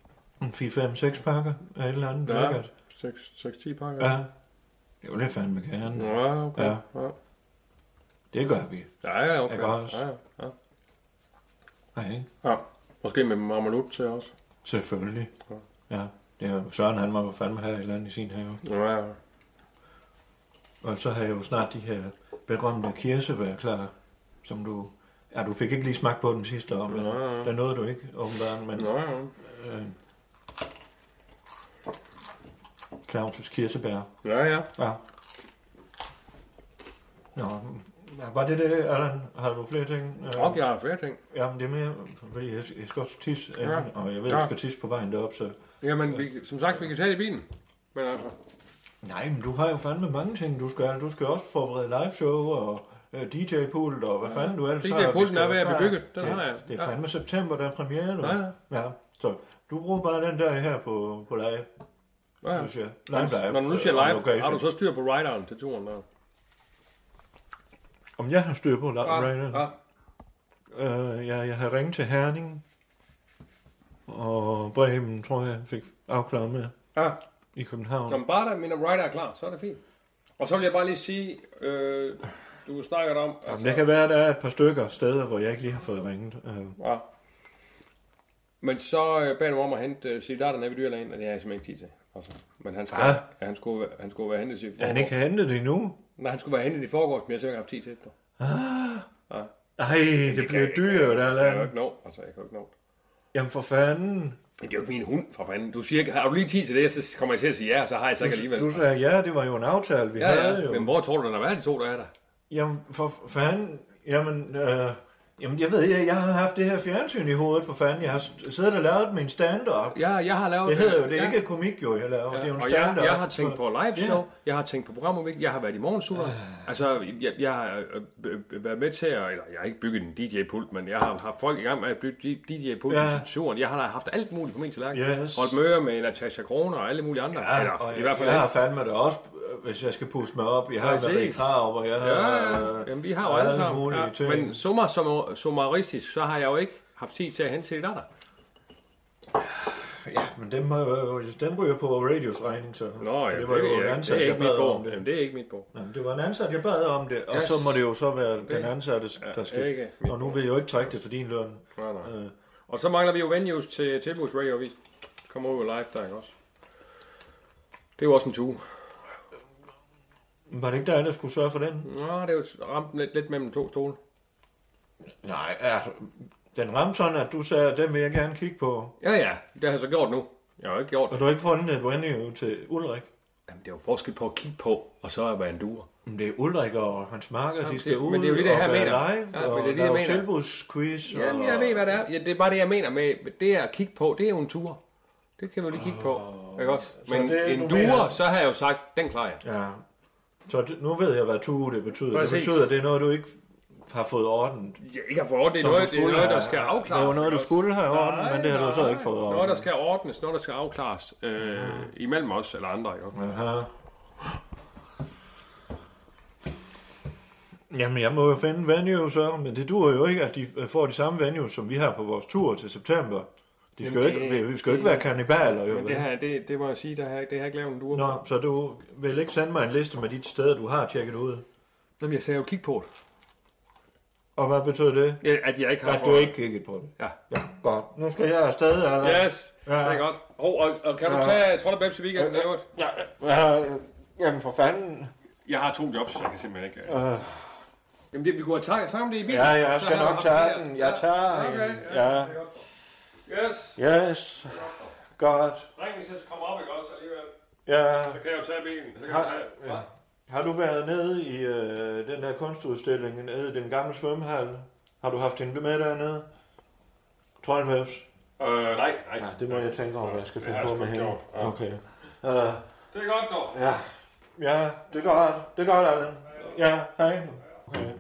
[SPEAKER 7] En 4-5-6 pakker af et eller andet.
[SPEAKER 8] Ja,
[SPEAKER 7] lækkert.
[SPEAKER 8] 6-10 pakker.
[SPEAKER 7] Ja. Det vil jeg fandme gerne.
[SPEAKER 8] Ja, okay.
[SPEAKER 7] Ja.
[SPEAKER 8] Ja, ja.
[SPEAKER 7] Det gør vi.
[SPEAKER 8] ja, ja okay.
[SPEAKER 7] Jeg kan også.
[SPEAKER 8] Ja, ja, ja.
[SPEAKER 7] Nej,
[SPEAKER 8] ja. Måske med marmelut til også.
[SPEAKER 7] selvfølgelig. Ja. Det er jo Søren, han var jo fandme her i landet i sin have.
[SPEAKER 8] Ja, ja.
[SPEAKER 7] Og så har jeg jo snart de her berømte kirsebær klar, som du... Ja, du fik ikke lige smagt på den sidste år, men
[SPEAKER 8] Nå, ja.
[SPEAKER 7] der nåede du ikke, åbenbart. Men
[SPEAKER 8] Nå, ja.
[SPEAKER 7] øh, Claus' kirsebær.
[SPEAKER 8] Ja, ja.
[SPEAKER 7] Ja. Nå, ja, var det det, Allan? Har du flere ting? Øh,
[SPEAKER 8] Og jeg har flere ting.
[SPEAKER 7] Jamen, det er mere, fordi jeg, jeg skal også tisse,
[SPEAKER 8] Ja.
[SPEAKER 7] ja. og jeg ved,
[SPEAKER 8] Ja.
[SPEAKER 7] jeg skal tisse på vejen derop, så...
[SPEAKER 8] Jamen, vi, som sagt, vi kan tage det i bilen. Men altså,
[SPEAKER 7] Nej, men du har jo fandme mange ting, du skal. Du skal også forberede liveshow og øh, DJ-pult og hvad fanden du ellers
[SPEAKER 8] DJ
[SPEAKER 7] har. Vi
[SPEAKER 8] pulten
[SPEAKER 7] skal
[SPEAKER 8] er ved at
[SPEAKER 7] være
[SPEAKER 8] bebygget.
[SPEAKER 7] klar.
[SPEAKER 8] Den
[SPEAKER 7] ja,
[SPEAKER 8] har jeg.
[SPEAKER 7] Det
[SPEAKER 8] Ja.
[SPEAKER 7] er fandme september, der er premiere nu.
[SPEAKER 8] Ja, ja.
[SPEAKER 7] ja. Så du bruger bare den der her på, på live,
[SPEAKER 8] ja, ja.
[SPEAKER 7] synes jeg. Live, live.
[SPEAKER 8] Når du nu siger
[SPEAKER 7] øh,
[SPEAKER 8] live,
[SPEAKER 7] location.
[SPEAKER 8] har du så styr på rideren til turen der?
[SPEAKER 7] Om jeg har styr på live, right?
[SPEAKER 8] ja.
[SPEAKER 7] Øh, ja, jeg har ringet til Herning, og Bremen, tror jeg, fik afklaret med
[SPEAKER 8] ja.
[SPEAKER 7] i København.
[SPEAKER 8] Som bare der, mine rider er klar, så er det fint. Og så vil jeg bare lige sige, øh, du snakker om... altså,
[SPEAKER 7] Jamen, det kan være, der er et par stykker steder, hvor jeg ikke lige har fået ringet. Øh,
[SPEAKER 8] Ja. Men så øh, bad du om at hente øh, cigaretter nede ved dyrlægen, og det har jeg simpelthen ikke tid til. Altså, men han skulle,
[SPEAKER 7] Hvad?
[SPEAKER 8] ja, han skulle, han skulle være hentet i
[SPEAKER 7] er han ikke hentet det endnu?
[SPEAKER 8] Nej, han skulle være hentet i forgårs, men jeg har simpelthen ikke haft tid til det.
[SPEAKER 7] Ej, det bliver dyrt,
[SPEAKER 8] Jeg kan jo
[SPEAKER 7] Allan.
[SPEAKER 8] ikke nå, altså jeg kan jo ikke nå.
[SPEAKER 7] Jamen for fanden.
[SPEAKER 8] Men det er jo ikke min hund, for fanden. Du siger ikke, har du lige tid til det, så kommer jeg til at sige ja, og så har jeg så ikke alligevel.
[SPEAKER 7] Du sagde, ja, det var jo en aftale, vi
[SPEAKER 8] ja,
[SPEAKER 7] havde
[SPEAKER 8] ja,
[SPEAKER 7] jo.
[SPEAKER 8] men hvor tror du, den har været de to, der er der?
[SPEAKER 7] Jamen for fanden. Jamen, øh, jamen jeg ved, jeg, jeg har haft det her fjernsyn i hovedet, for fanden. Jeg har s- siddet og lavet min stand-up.
[SPEAKER 8] Ja, jeg har lavet...
[SPEAKER 7] Det hedder jo, det er
[SPEAKER 8] ja.
[SPEAKER 7] ikke komik jo, jeg laver. Det er jo en
[SPEAKER 8] og jeg,
[SPEAKER 7] stand-up.
[SPEAKER 8] jeg har tænkt på live show,
[SPEAKER 7] Ja. Ah.
[SPEAKER 8] jeg har tænkt på programudvikling, jeg har været i morgensutter. Øh. Altså, jeg, jeg har øh, øh, øh, været med til at, eller jeg har ikke bygget en DJ-pult, men jeg har haft folk i gang med at bygge DJ-pult ja.
[SPEAKER 7] Ja.
[SPEAKER 8] til turen. Jeg har da haft alt muligt på min tallerken.
[SPEAKER 7] Yes.
[SPEAKER 8] Holdt møder med Natasha Kroner og alle mulige andre. Ja, eller,
[SPEAKER 7] Og jeg,
[SPEAKER 8] i hvert fald
[SPEAKER 7] jeg har fandme det også, øh, hvis jeg skal puste mig op. Jeg har jo
[SPEAKER 8] Præcis.
[SPEAKER 7] været i krav, og jeg har...
[SPEAKER 8] Ja, ja,
[SPEAKER 7] øh,
[SPEAKER 8] Jamen, vi har jo
[SPEAKER 7] alle
[SPEAKER 8] alle sammen.
[SPEAKER 7] mulige
[SPEAKER 8] Ja,
[SPEAKER 7] ting.
[SPEAKER 8] men summa summa- summaristisk, så har jeg jo ikke haft tid til at hente til dig.
[SPEAKER 7] Ja, men den, øh, den ryger på radios regning, så.
[SPEAKER 8] Nå, ja,
[SPEAKER 7] det var jo en
[SPEAKER 8] det,
[SPEAKER 7] ansat,
[SPEAKER 8] det er
[SPEAKER 7] jeg
[SPEAKER 8] ikke mit
[SPEAKER 7] bad om
[SPEAKER 8] bord.
[SPEAKER 7] det.
[SPEAKER 8] Jamen, det er ikke mit bord.
[SPEAKER 7] Jamen, det var en ansat, jeg bad om det, og
[SPEAKER 8] Yes.
[SPEAKER 7] så må det jo så være den ansatte, der skal...
[SPEAKER 8] ikke mit
[SPEAKER 7] Og nu vil jeg jo ikke trække det for din løn.
[SPEAKER 8] Nej, nej.
[SPEAKER 7] Øh,
[SPEAKER 8] Og så mangler vi jo venues til Tilbuds Radioavis. Kommer ud live der, ikke også? Det er jo også en tue.
[SPEAKER 7] Var det ikke dig, der skulle sørge for den?
[SPEAKER 8] Nå, det er jo ramt lidt, lidt mellem to stole.
[SPEAKER 7] Nej, altså, den ramte sådan, at du sagde, at den vil jeg gerne kigge på.
[SPEAKER 8] Ja, ja, det har jeg så gjort nu. Jeg har jo ikke gjort
[SPEAKER 7] Og
[SPEAKER 8] det.
[SPEAKER 7] du har ikke fundet et venue til Ulrik?
[SPEAKER 8] Jamen, det er jo forskel på at kigge på, og så at være en duer.
[SPEAKER 7] Men det er Ulrik og hans marker,
[SPEAKER 8] Jamen,
[SPEAKER 7] de
[SPEAKER 8] det-
[SPEAKER 7] skal ud
[SPEAKER 8] men det er jo det, det
[SPEAKER 7] og
[SPEAKER 8] her
[SPEAKER 7] være
[SPEAKER 8] mener.
[SPEAKER 7] live,
[SPEAKER 8] Ja, men
[SPEAKER 7] og
[SPEAKER 8] det er det, jeg
[SPEAKER 7] lave
[SPEAKER 8] mener.
[SPEAKER 7] tilbudsquiz.
[SPEAKER 8] Jamen,
[SPEAKER 7] og...
[SPEAKER 8] jeg ved, hvad det er. Ja, det er bare det, jeg mener med det at kigge på. Det er jo en tur. Det kan vi jo lige kigge på. Ikke også?
[SPEAKER 7] Så
[SPEAKER 8] Men
[SPEAKER 7] det,
[SPEAKER 8] en
[SPEAKER 7] du
[SPEAKER 8] duer,
[SPEAKER 7] mener-
[SPEAKER 8] så har jeg jo sagt, den klarer jeg.
[SPEAKER 7] Ja. Så det, nu ved jeg, hvad tue det betyder.
[SPEAKER 8] Præcis.
[SPEAKER 7] Det betyder, at det er noget, du ikke har fået ordnet.
[SPEAKER 8] Jeg ikke har fået ordnet. Det
[SPEAKER 7] Som
[SPEAKER 8] er
[SPEAKER 7] du
[SPEAKER 8] noget, det er
[SPEAKER 7] skulle
[SPEAKER 8] noget, der
[SPEAKER 7] have-
[SPEAKER 8] skal afklares.
[SPEAKER 7] Det var noget,
[SPEAKER 8] ikke
[SPEAKER 7] du
[SPEAKER 8] også?
[SPEAKER 7] skulle have ordnet,
[SPEAKER 8] Nej,
[SPEAKER 7] men det har du så
[SPEAKER 8] nej.
[SPEAKER 7] ikke fået ordnet. Ah.
[SPEAKER 8] Noget, der skal ordnes, noget, der skal afklares øh, imellem os eller andre. Ikke? også?
[SPEAKER 7] Aha. Jamen, jeg må jo finde venue så, men det duer jo ikke, at de øh, får de samme venue, som vi har på vores tur til september. De skal jo
[SPEAKER 8] det-
[SPEAKER 7] ikke, vi- vi skal jo
[SPEAKER 8] det-
[SPEAKER 7] ikke være kannibaler, jo.
[SPEAKER 8] Men
[SPEAKER 7] vel?
[SPEAKER 8] det her, det, det må jeg sige, der har, jeg- det har jeg ikke lavet en duer.
[SPEAKER 7] Nå, så du vil ikke sende mig en liste med de steder, du har tjekket ud.
[SPEAKER 8] Jamen, jeg sagde jo kig på det.
[SPEAKER 7] Og hvad betyder det?
[SPEAKER 8] Ja, At jeg ikke har
[SPEAKER 7] At du ikke kigget på det.
[SPEAKER 8] Ja.
[SPEAKER 7] Ja, godt. Nu skal jeg afsted, eller?
[SPEAKER 8] Yes, ja.
[SPEAKER 7] Ja.
[SPEAKER 8] det er godt. Oh, og, og, kan du
[SPEAKER 7] Ja.
[SPEAKER 8] tage Trolle Babs i weekenden? i øvrigt?
[SPEAKER 7] Ja, ja, ja, jamen for fanden.
[SPEAKER 8] Jeg har to jobs, jeg kan simpelthen ikke... Øh. Jamen, det, vi kunne have taget sammen det i bilen.
[SPEAKER 7] Ja, jeg
[SPEAKER 8] så
[SPEAKER 7] skal
[SPEAKER 8] havde
[SPEAKER 7] nok
[SPEAKER 8] vi haft
[SPEAKER 7] tage
[SPEAKER 8] det her.
[SPEAKER 7] den. Jeg tager
[SPEAKER 8] okay,
[SPEAKER 7] den.
[SPEAKER 8] ja. det
[SPEAKER 7] Ja.
[SPEAKER 8] er godt. Yes,
[SPEAKER 7] Yes. Godt.
[SPEAKER 8] ringen så kommer op, ikke også alligevel.
[SPEAKER 7] Ja.
[SPEAKER 8] Så kan jeg jo tage bilen. Så kan jeg
[SPEAKER 7] Har,
[SPEAKER 8] tage.
[SPEAKER 7] ja. har du været nede i øh, den der kunstudstilling nede i den gamle svømmehal? Har du haft hende med dernede? Trollmøbs?
[SPEAKER 8] Øh, nej, nej.
[SPEAKER 7] Ja, det må jeg tænke over, hvad jeg skal
[SPEAKER 8] Det
[SPEAKER 7] finde
[SPEAKER 8] har jeg
[SPEAKER 7] på
[SPEAKER 8] sgu
[SPEAKER 7] med
[SPEAKER 8] ikke
[SPEAKER 7] hende.
[SPEAKER 8] gjort, ja.
[SPEAKER 7] Okay. Uh,
[SPEAKER 8] Det er godt dog.
[SPEAKER 7] ja. ja, det er godt. Det er godt, Allan. Ja, hej. Okay.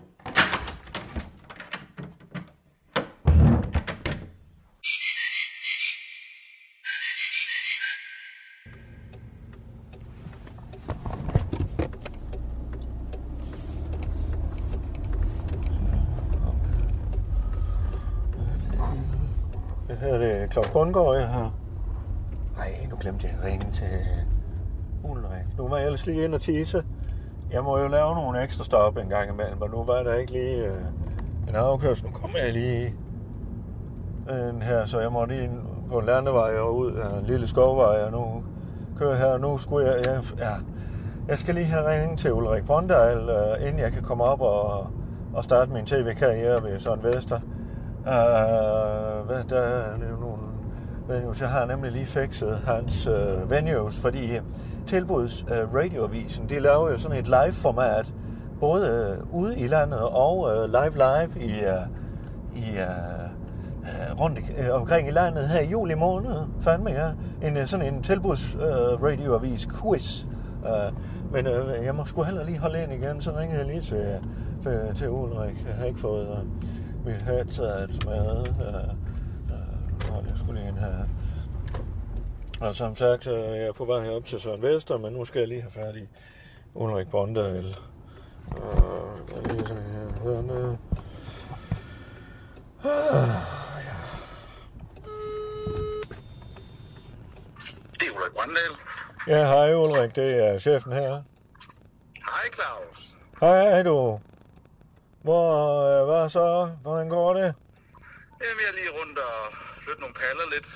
[SPEAKER 7] Her er det Claus Bundgaard, jeg har. Nej, nu glemte jeg at ringe til Ulrik. Nu var jeg ellers lige ind og tisse. Jeg må jo lave nogle ekstra stop en gang imellem, og nu var der ikke lige øh, en afkørsel. Nu kommer jeg lige ind her, så jeg måtte ind på en landevej og ud af en lille skovvej, og nu kører jeg her, og nu skulle jeg... jeg ja, jeg skal lige have ringet til Ulrik Brøndal, øh, inden jeg kan komme op og, og starte min tv-karriere ved Søren Vester. Øh, hvad der er det nogle venues. Jeg har nemlig lige fikset hans øh, venues, fordi tilbuds øh, radioavisen, de laver jo sådan et live-format, både øh, ude i landet og øh, live-live i, øh, i øh, øh, rundt i- øh, omkring i landet her i juli måned, fandme ja, en, øh, sådan en tilbuds øh, radioavis quiz. Øh, men øh, jeg må sgu heller lige holde ind igen, så ringer jeg lige til, øh, til Ulrik. Jeg har ikke fået øh, mit headset med. Øh, øh, hold, jeg skulle lige ind her. Og som sagt, øh, jeg er på vej herop til Søren Vester, men nu skal jeg lige have fat i Ulrik Bondal. Øh, jeg lige sådan her. Sådan, øh.
[SPEAKER 4] Det er Ulrik Grøndal.
[SPEAKER 7] Ja, hej Ulrik, det er chefen her.
[SPEAKER 4] Hej Claus.
[SPEAKER 7] Hej du. Hvor, øh, hvad så? Hvordan går det?
[SPEAKER 4] Jamen, jeg er lige rundt og flytte nogle paller lidt.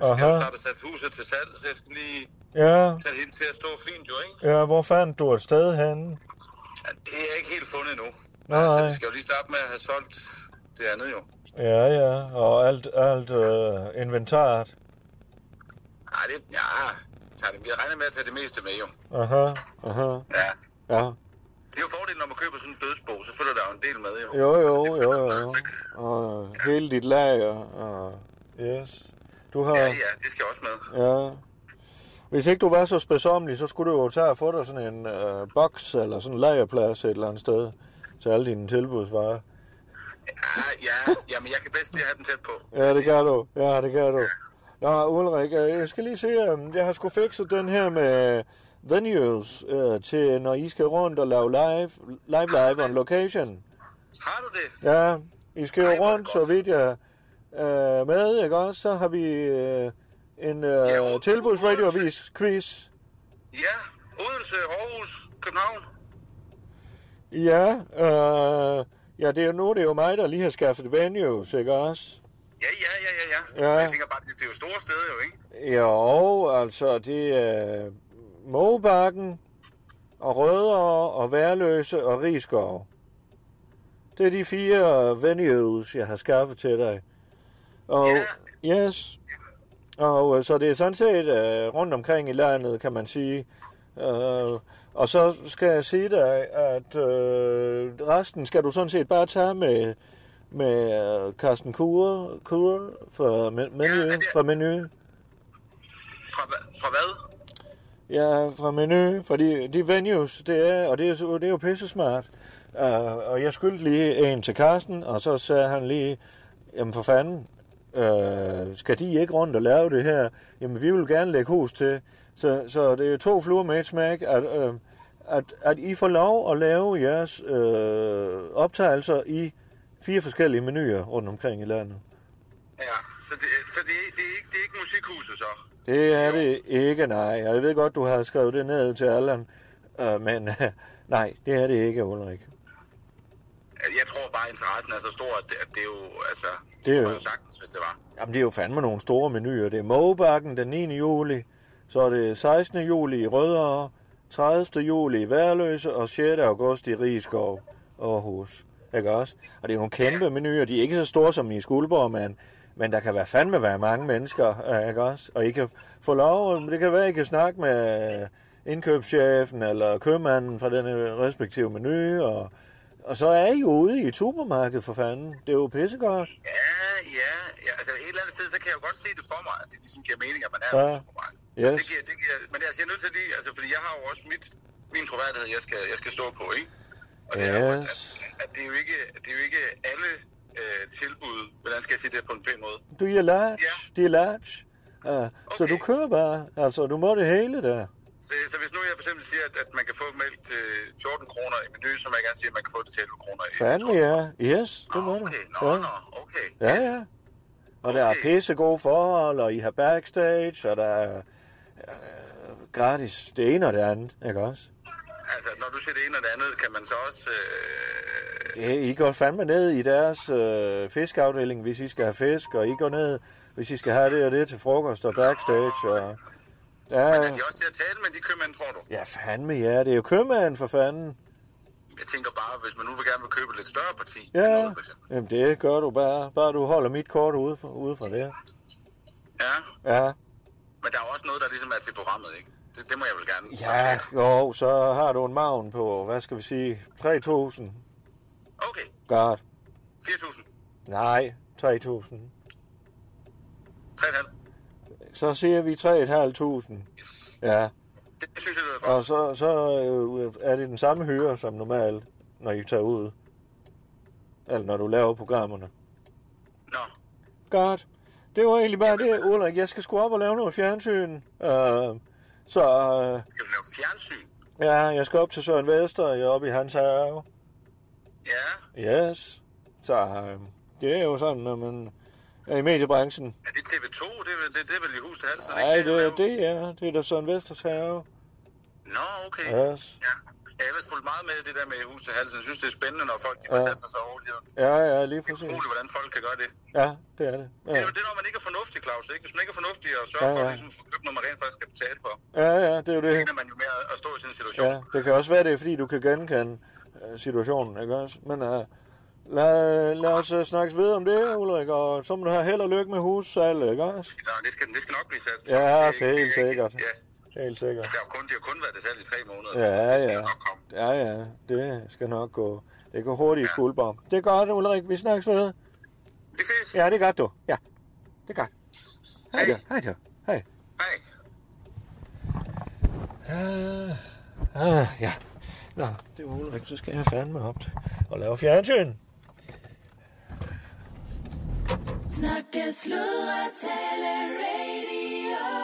[SPEAKER 4] Jeg
[SPEAKER 7] Aha.
[SPEAKER 4] har snart sat huset til salg, så jeg skal lige
[SPEAKER 7] Ja,
[SPEAKER 4] tage det hele til at stå fint jo, ikke?
[SPEAKER 7] ja, hvor fandt du et sted henne?
[SPEAKER 4] Ja, det er jeg ikke helt fundet endnu.
[SPEAKER 7] Nej.
[SPEAKER 4] Altså, vi skal jo lige starte med at have solgt det andet jo.
[SPEAKER 7] Ja, ja, og alt, alt øh, inventaret.
[SPEAKER 4] Nej, det, ja, tager det, jeg regner med at tage det meste med jo.
[SPEAKER 7] Aha, aha,
[SPEAKER 4] Ja.
[SPEAKER 7] ja.
[SPEAKER 4] Det er jo fordelen, når man køber sådan en dødsbo, så følger der jo en del med jo.
[SPEAKER 7] Jo, jo,
[SPEAKER 4] Altså, det
[SPEAKER 7] jo,
[SPEAKER 4] følger med,
[SPEAKER 7] jo.
[SPEAKER 4] så-
[SPEAKER 7] Og øh, hele dit lager, og yes. Du har,
[SPEAKER 4] Ja, ja, det skal også med.
[SPEAKER 7] ja. Hvis ikke du var så spædsommelig, så skulle du jo tage og få dig sådan en øh, boks eller sådan en lagerplads et eller andet sted til alle dine tilbudsvarer.
[SPEAKER 4] Ja, ja, jamen, jeg kan bedst lige have dem tæt på.
[SPEAKER 7] Ja, det kan du. Ja, det kan du. Nå, Ulrik, øh, jeg skal lige se, øh, jeg har sgu fikset den her med venues øh, til, når I skal rundt og lave live, live, live on location.
[SPEAKER 4] Har du det?
[SPEAKER 7] Ja, I skal
[SPEAKER 4] Ej,
[SPEAKER 7] jo
[SPEAKER 4] hvor er det
[SPEAKER 7] rundt, så
[SPEAKER 4] godt.
[SPEAKER 7] vidt jeg øh, med, ikke også? Så har vi øh, en øh, tilbudsradioavis quiz.
[SPEAKER 4] Ja, Odense, Aarhus, København.
[SPEAKER 7] Ja, øh, ja, det er jo nu, det er jo mig, der lige har skaffet venues, ikke også?
[SPEAKER 4] Ja, ja, ja, ja, ja.
[SPEAKER 7] Ja.
[SPEAKER 4] Jeg tænker bare, det det er jo store steder jo, ikke?
[SPEAKER 7] Jo, altså det er Mågebakken og Rødovre og Værløse og Rigskov. Det er de fire venues, jeg har skaffet til dig. Og, yes. Og øh, så det er sådan set øh, rundt omkring i landet, kan man sige. Øh, og så skal jeg sige dig, at øh, resten skal du sådan set bare tage med, med øh, Carsten Kure, Kure fra, men- menu,
[SPEAKER 4] men det-
[SPEAKER 7] fra menu.
[SPEAKER 4] Fra, hva- fra hvad?
[SPEAKER 7] Ja, fra menu, fordi de venues, det er, og det er, så- det er jo pisse smart. Uh, og jeg skyldte lige en til Carsten, og så sagde han lige, jamen for fanden, uh, skal de ikke rundt og lave det her? Jamen vi vil gerne lægge hus til. Så, så det er to fluer med et smæk, at, uh, at, at I får lov at lave jeres uh, optagelser i fire forskellige menuer rundt omkring i landet.
[SPEAKER 4] Ja, så det, så det, det, er, ikke, det er ikke musikhuset så.
[SPEAKER 7] Det er det ikke, nej. Og jeg ved godt, du har skrevet det ned til Allan, øh, men nej, det er det ikke, Ulrik.
[SPEAKER 9] Altså,
[SPEAKER 4] Jeg tror bare, interessen er så stor, at det, at det er jo, altså, det,
[SPEAKER 7] Det er
[SPEAKER 4] kunne man
[SPEAKER 7] jo-
[SPEAKER 4] jo sagtens, hvis det var.
[SPEAKER 7] Jamen, det er jo fandme nogle store menuer. Det er Mågebakken den 9. juli, så er det 16. juli i Rødovre, 30. juli i Værløse og 6. august i Rigskov. Aarhus. Ikke også? Og det er nogle kæmpe menuer. De er ikke så store som i Skuldborg, men, men der kan være fandme være mange mennesker, øh, ikke også? Og I kan få lov, det kan være, I kan snakke med indkøbschefen eller købmanden fra den øh, respektive menu, og, og så er I jo ude i et supermarked for fanden. Det er jo pissegodt.
[SPEAKER 9] Ja, ja, ja. Altså et eller andet sted, så kan jeg jo godt se det for mig, at det ligesom giver mening, at man er
[SPEAKER 7] Ja.
[SPEAKER 9] Men
[SPEAKER 7] Yes.
[SPEAKER 9] Det giver, det giver, men altså, jeg er nødt til lige, altså, fordi jeg har jo også mit, min troværdighed, jeg skal, jeg skal stå på, ikke?
[SPEAKER 7] Yes.
[SPEAKER 9] At det er jo ikke, det er jo ikke alle øh, tilbud, hvordan skal jeg sige det på en pæn måde?
[SPEAKER 7] Du er large. De er large. Uh, okay. Så du kører bare. Altså, du må det hele der.
[SPEAKER 9] Så, så hvis nu jeg for eksempel siger, at, at man kan få mælk til 14 kroner i menu, så må jeg gerne sige, at man kan få det til 11 kroner i
[SPEAKER 7] Fandme ja. Yes, det må du.
[SPEAKER 9] Ah, nå,
[SPEAKER 7] ja.
[SPEAKER 9] nå, okay.
[SPEAKER 7] Ja, ja. Og der er pisse gode forhold, og I har backstage, og der er øh, gratis det ene og det andet, ikke også?
[SPEAKER 9] Altså, når du siger det ene og det andet, kan man så også... Øh,
[SPEAKER 7] Det, I går fandme ned i deres øh, fiskeafdeling, hvis I skal have fisk, og I går ned, hvis I skal have det og det til frokost og backstage, og... Der
[SPEAKER 9] Men
[SPEAKER 7] er,
[SPEAKER 9] er de også til at tale med de købmænd, tror du?
[SPEAKER 7] ja, fandme ja, det er jo købmanden for fanden.
[SPEAKER 9] Jeg tænker bare, hvis man nu vil gerne vil købe et lidt større parti.
[SPEAKER 7] Ja, jamen det gør du bare. Bare du holder mit kort ude fra, ude fra det.
[SPEAKER 9] Ja,
[SPEAKER 7] Ja,
[SPEAKER 9] men der er også noget, der ligesom er til programmet, ikke? Det, det må jeg vel gerne.
[SPEAKER 7] ja jo, så har du en maven på, hvad skal vi sige, 3.000. Okay. Godt.
[SPEAKER 9] 4.000.
[SPEAKER 7] Nej, 3.000.
[SPEAKER 9] 3.500.
[SPEAKER 7] Så siger vi 3.500. Ja.
[SPEAKER 9] Det synes jeg, det
[SPEAKER 7] Og så, så øh, er det den samme hyre som normalt, når I tager ud. Eller når du laver programmerne. Nå. Godt. Det var egentlig bare det, Ulrik. Jeg skal sgu op og lave noget fjernsyn. Øh, så... Øh,
[SPEAKER 9] Skal du lave fjernsyn?
[SPEAKER 7] Ja, jeg skal op til Søren Vester, jeg er oppe i hans have. Ja. Yes. Så øh, det er jo sådan, når man er i mediebranchen.
[SPEAKER 9] Er det TV2? Det, er- det, det er vel i hus til halsen,
[SPEAKER 7] Nej, det er det, ja. Det er da Søren Vesters have.
[SPEAKER 9] Nå, okay.
[SPEAKER 7] Yes.
[SPEAKER 9] Ja. Jeg har ellers fulgt meget med i det der med i hus til halsen. Jeg synes, det er spændende, når folk de ja.
[SPEAKER 7] Ja.
[SPEAKER 9] sætter sig over livet.
[SPEAKER 7] Ja, ja, lige præcis.
[SPEAKER 9] Utroligt, hvordan folk kan gøre det.
[SPEAKER 7] Ja, det er det.
[SPEAKER 9] Det
[SPEAKER 7] Ja.
[SPEAKER 9] er jo det, når man ikke er fornuftig, Claus. Ikke? Hvis man ikke er fornuftig og sørger
[SPEAKER 7] Ja,
[SPEAKER 9] for,
[SPEAKER 7] ja.
[SPEAKER 9] at ligesom, få købt noget, man rent faktisk skal betale for,
[SPEAKER 7] Ja, ja, det er jo
[SPEAKER 9] så
[SPEAKER 7] det.
[SPEAKER 9] ender man jo med at- at stå i sådan en situation.
[SPEAKER 7] Ja, det kan også være, det er, fordi du kan genkende øh, situationen, ikke også? Men øh, lad, lad os øh, snakkes videre om det, Ulrik, og så må du have held og lykke med hussalget, ikke også?
[SPEAKER 9] Ja, det skal, det skal nok blive sat.
[SPEAKER 7] Ja, det er helt sikkert. Helt sikkert.
[SPEAKER 9] Det har jo kun, det har kun været det salg i tre måneder.
[SPEAKER 7] Ja, ja. Ja, ja. Det skal nok gå. Det går hurtigt i skuldbar. Det er godt, Ulrik. Vi snakkes ved.
[SPEAKER 9] Vi ses.
[SPEAKER 7] Ja, det er godt, du. Ja, det er godt. Hej, du. Hej, du. Hej. Hej. Ah, ja. Nå, det var Ulrik. Så skal jeg fandme op og lave fjernsyn.
[SPEAKER 5] Snakke, sludre, tale, radio.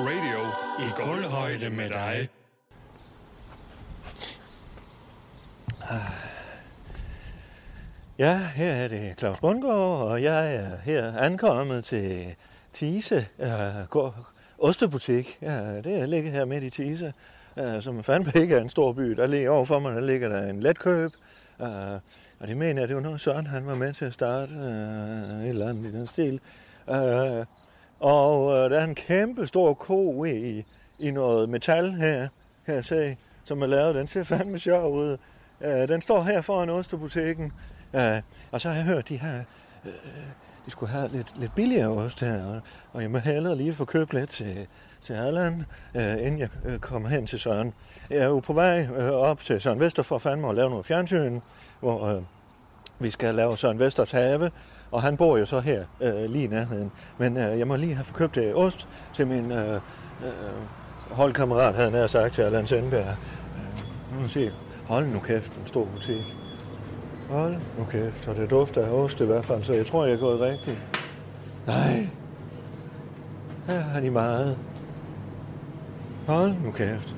[SPEAKER 3] Radio i gulvhøjde med dig.
[SPEAKER 7] Ja, her er det Claus Bundgaard, og jeg er her ankommet til Tise øh, gå- Ostebutik. Ja, det er ligget her midt i Tise, øh, som fandme ikke er en stor by. Der ligger overfor mig, der ligger der en letkøb. Øh, og det mener jeg, det var noget Søren, han var med til at starte øh, et eller andet i den stil. Øh, og øh, der er en kæmpe stor ko i, i noget metal her, kan jeg se, som er lavet. Den ser fandme sjov ud. Øh, den står her foran ostebutikken. Øh, og så har jeg hørt, de her øh, de skulle have lidt, lidt billigere ost her, og, og jeg må hellere lige få købt lidt til, til Erland, øh, inden jeg øh, kommer hen til Søren. Jeg er jo på vej øh, op til Søren Vester for fandme at lave noget fjernsyn, hvor øh, vi skal lave Søren Vesters have, og han bor jo så her øh, lige i nærheden. Men øh, jeg må lige have købt øh, ost til min øh, øh, holdkammerat, havde han sagt til Erland Sendberg. Øh, nu må vi se, hold nu kæft, en stor butik. Hold nu kæft, og det dufter af ost i hvert fald, så jeg tror, jeg er gået rigtigt. Nej. Her har de meget. Hold nu kæft.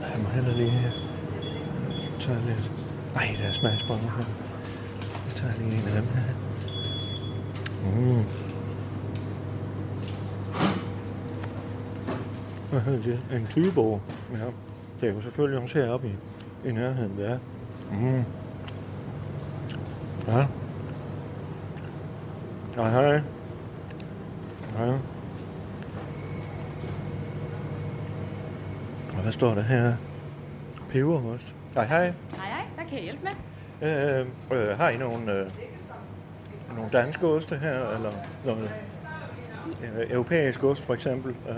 [SPEAKER 7] Nej, jeg må hellere lige tage lidt. Ej, der er smagsbrød her. Jeg tager lige en af dem her. Mm. Hvad hedder det? En tybo. Ja. Det er jo selvfølgelig også heroppe i, i nærheden, der er. Mm. Ja. Hej, hej. Hej. Og hvad står der her? Peberost. Hej, hej.
[SPEAKER 10] Hej, hej. Hvad kan jeg hjælpe med?
[SPEAKER 7] Øh, øh, har I nogle, øh, nogle danske oste her, eller noget øh, europæisk ost for eksempel? Øh,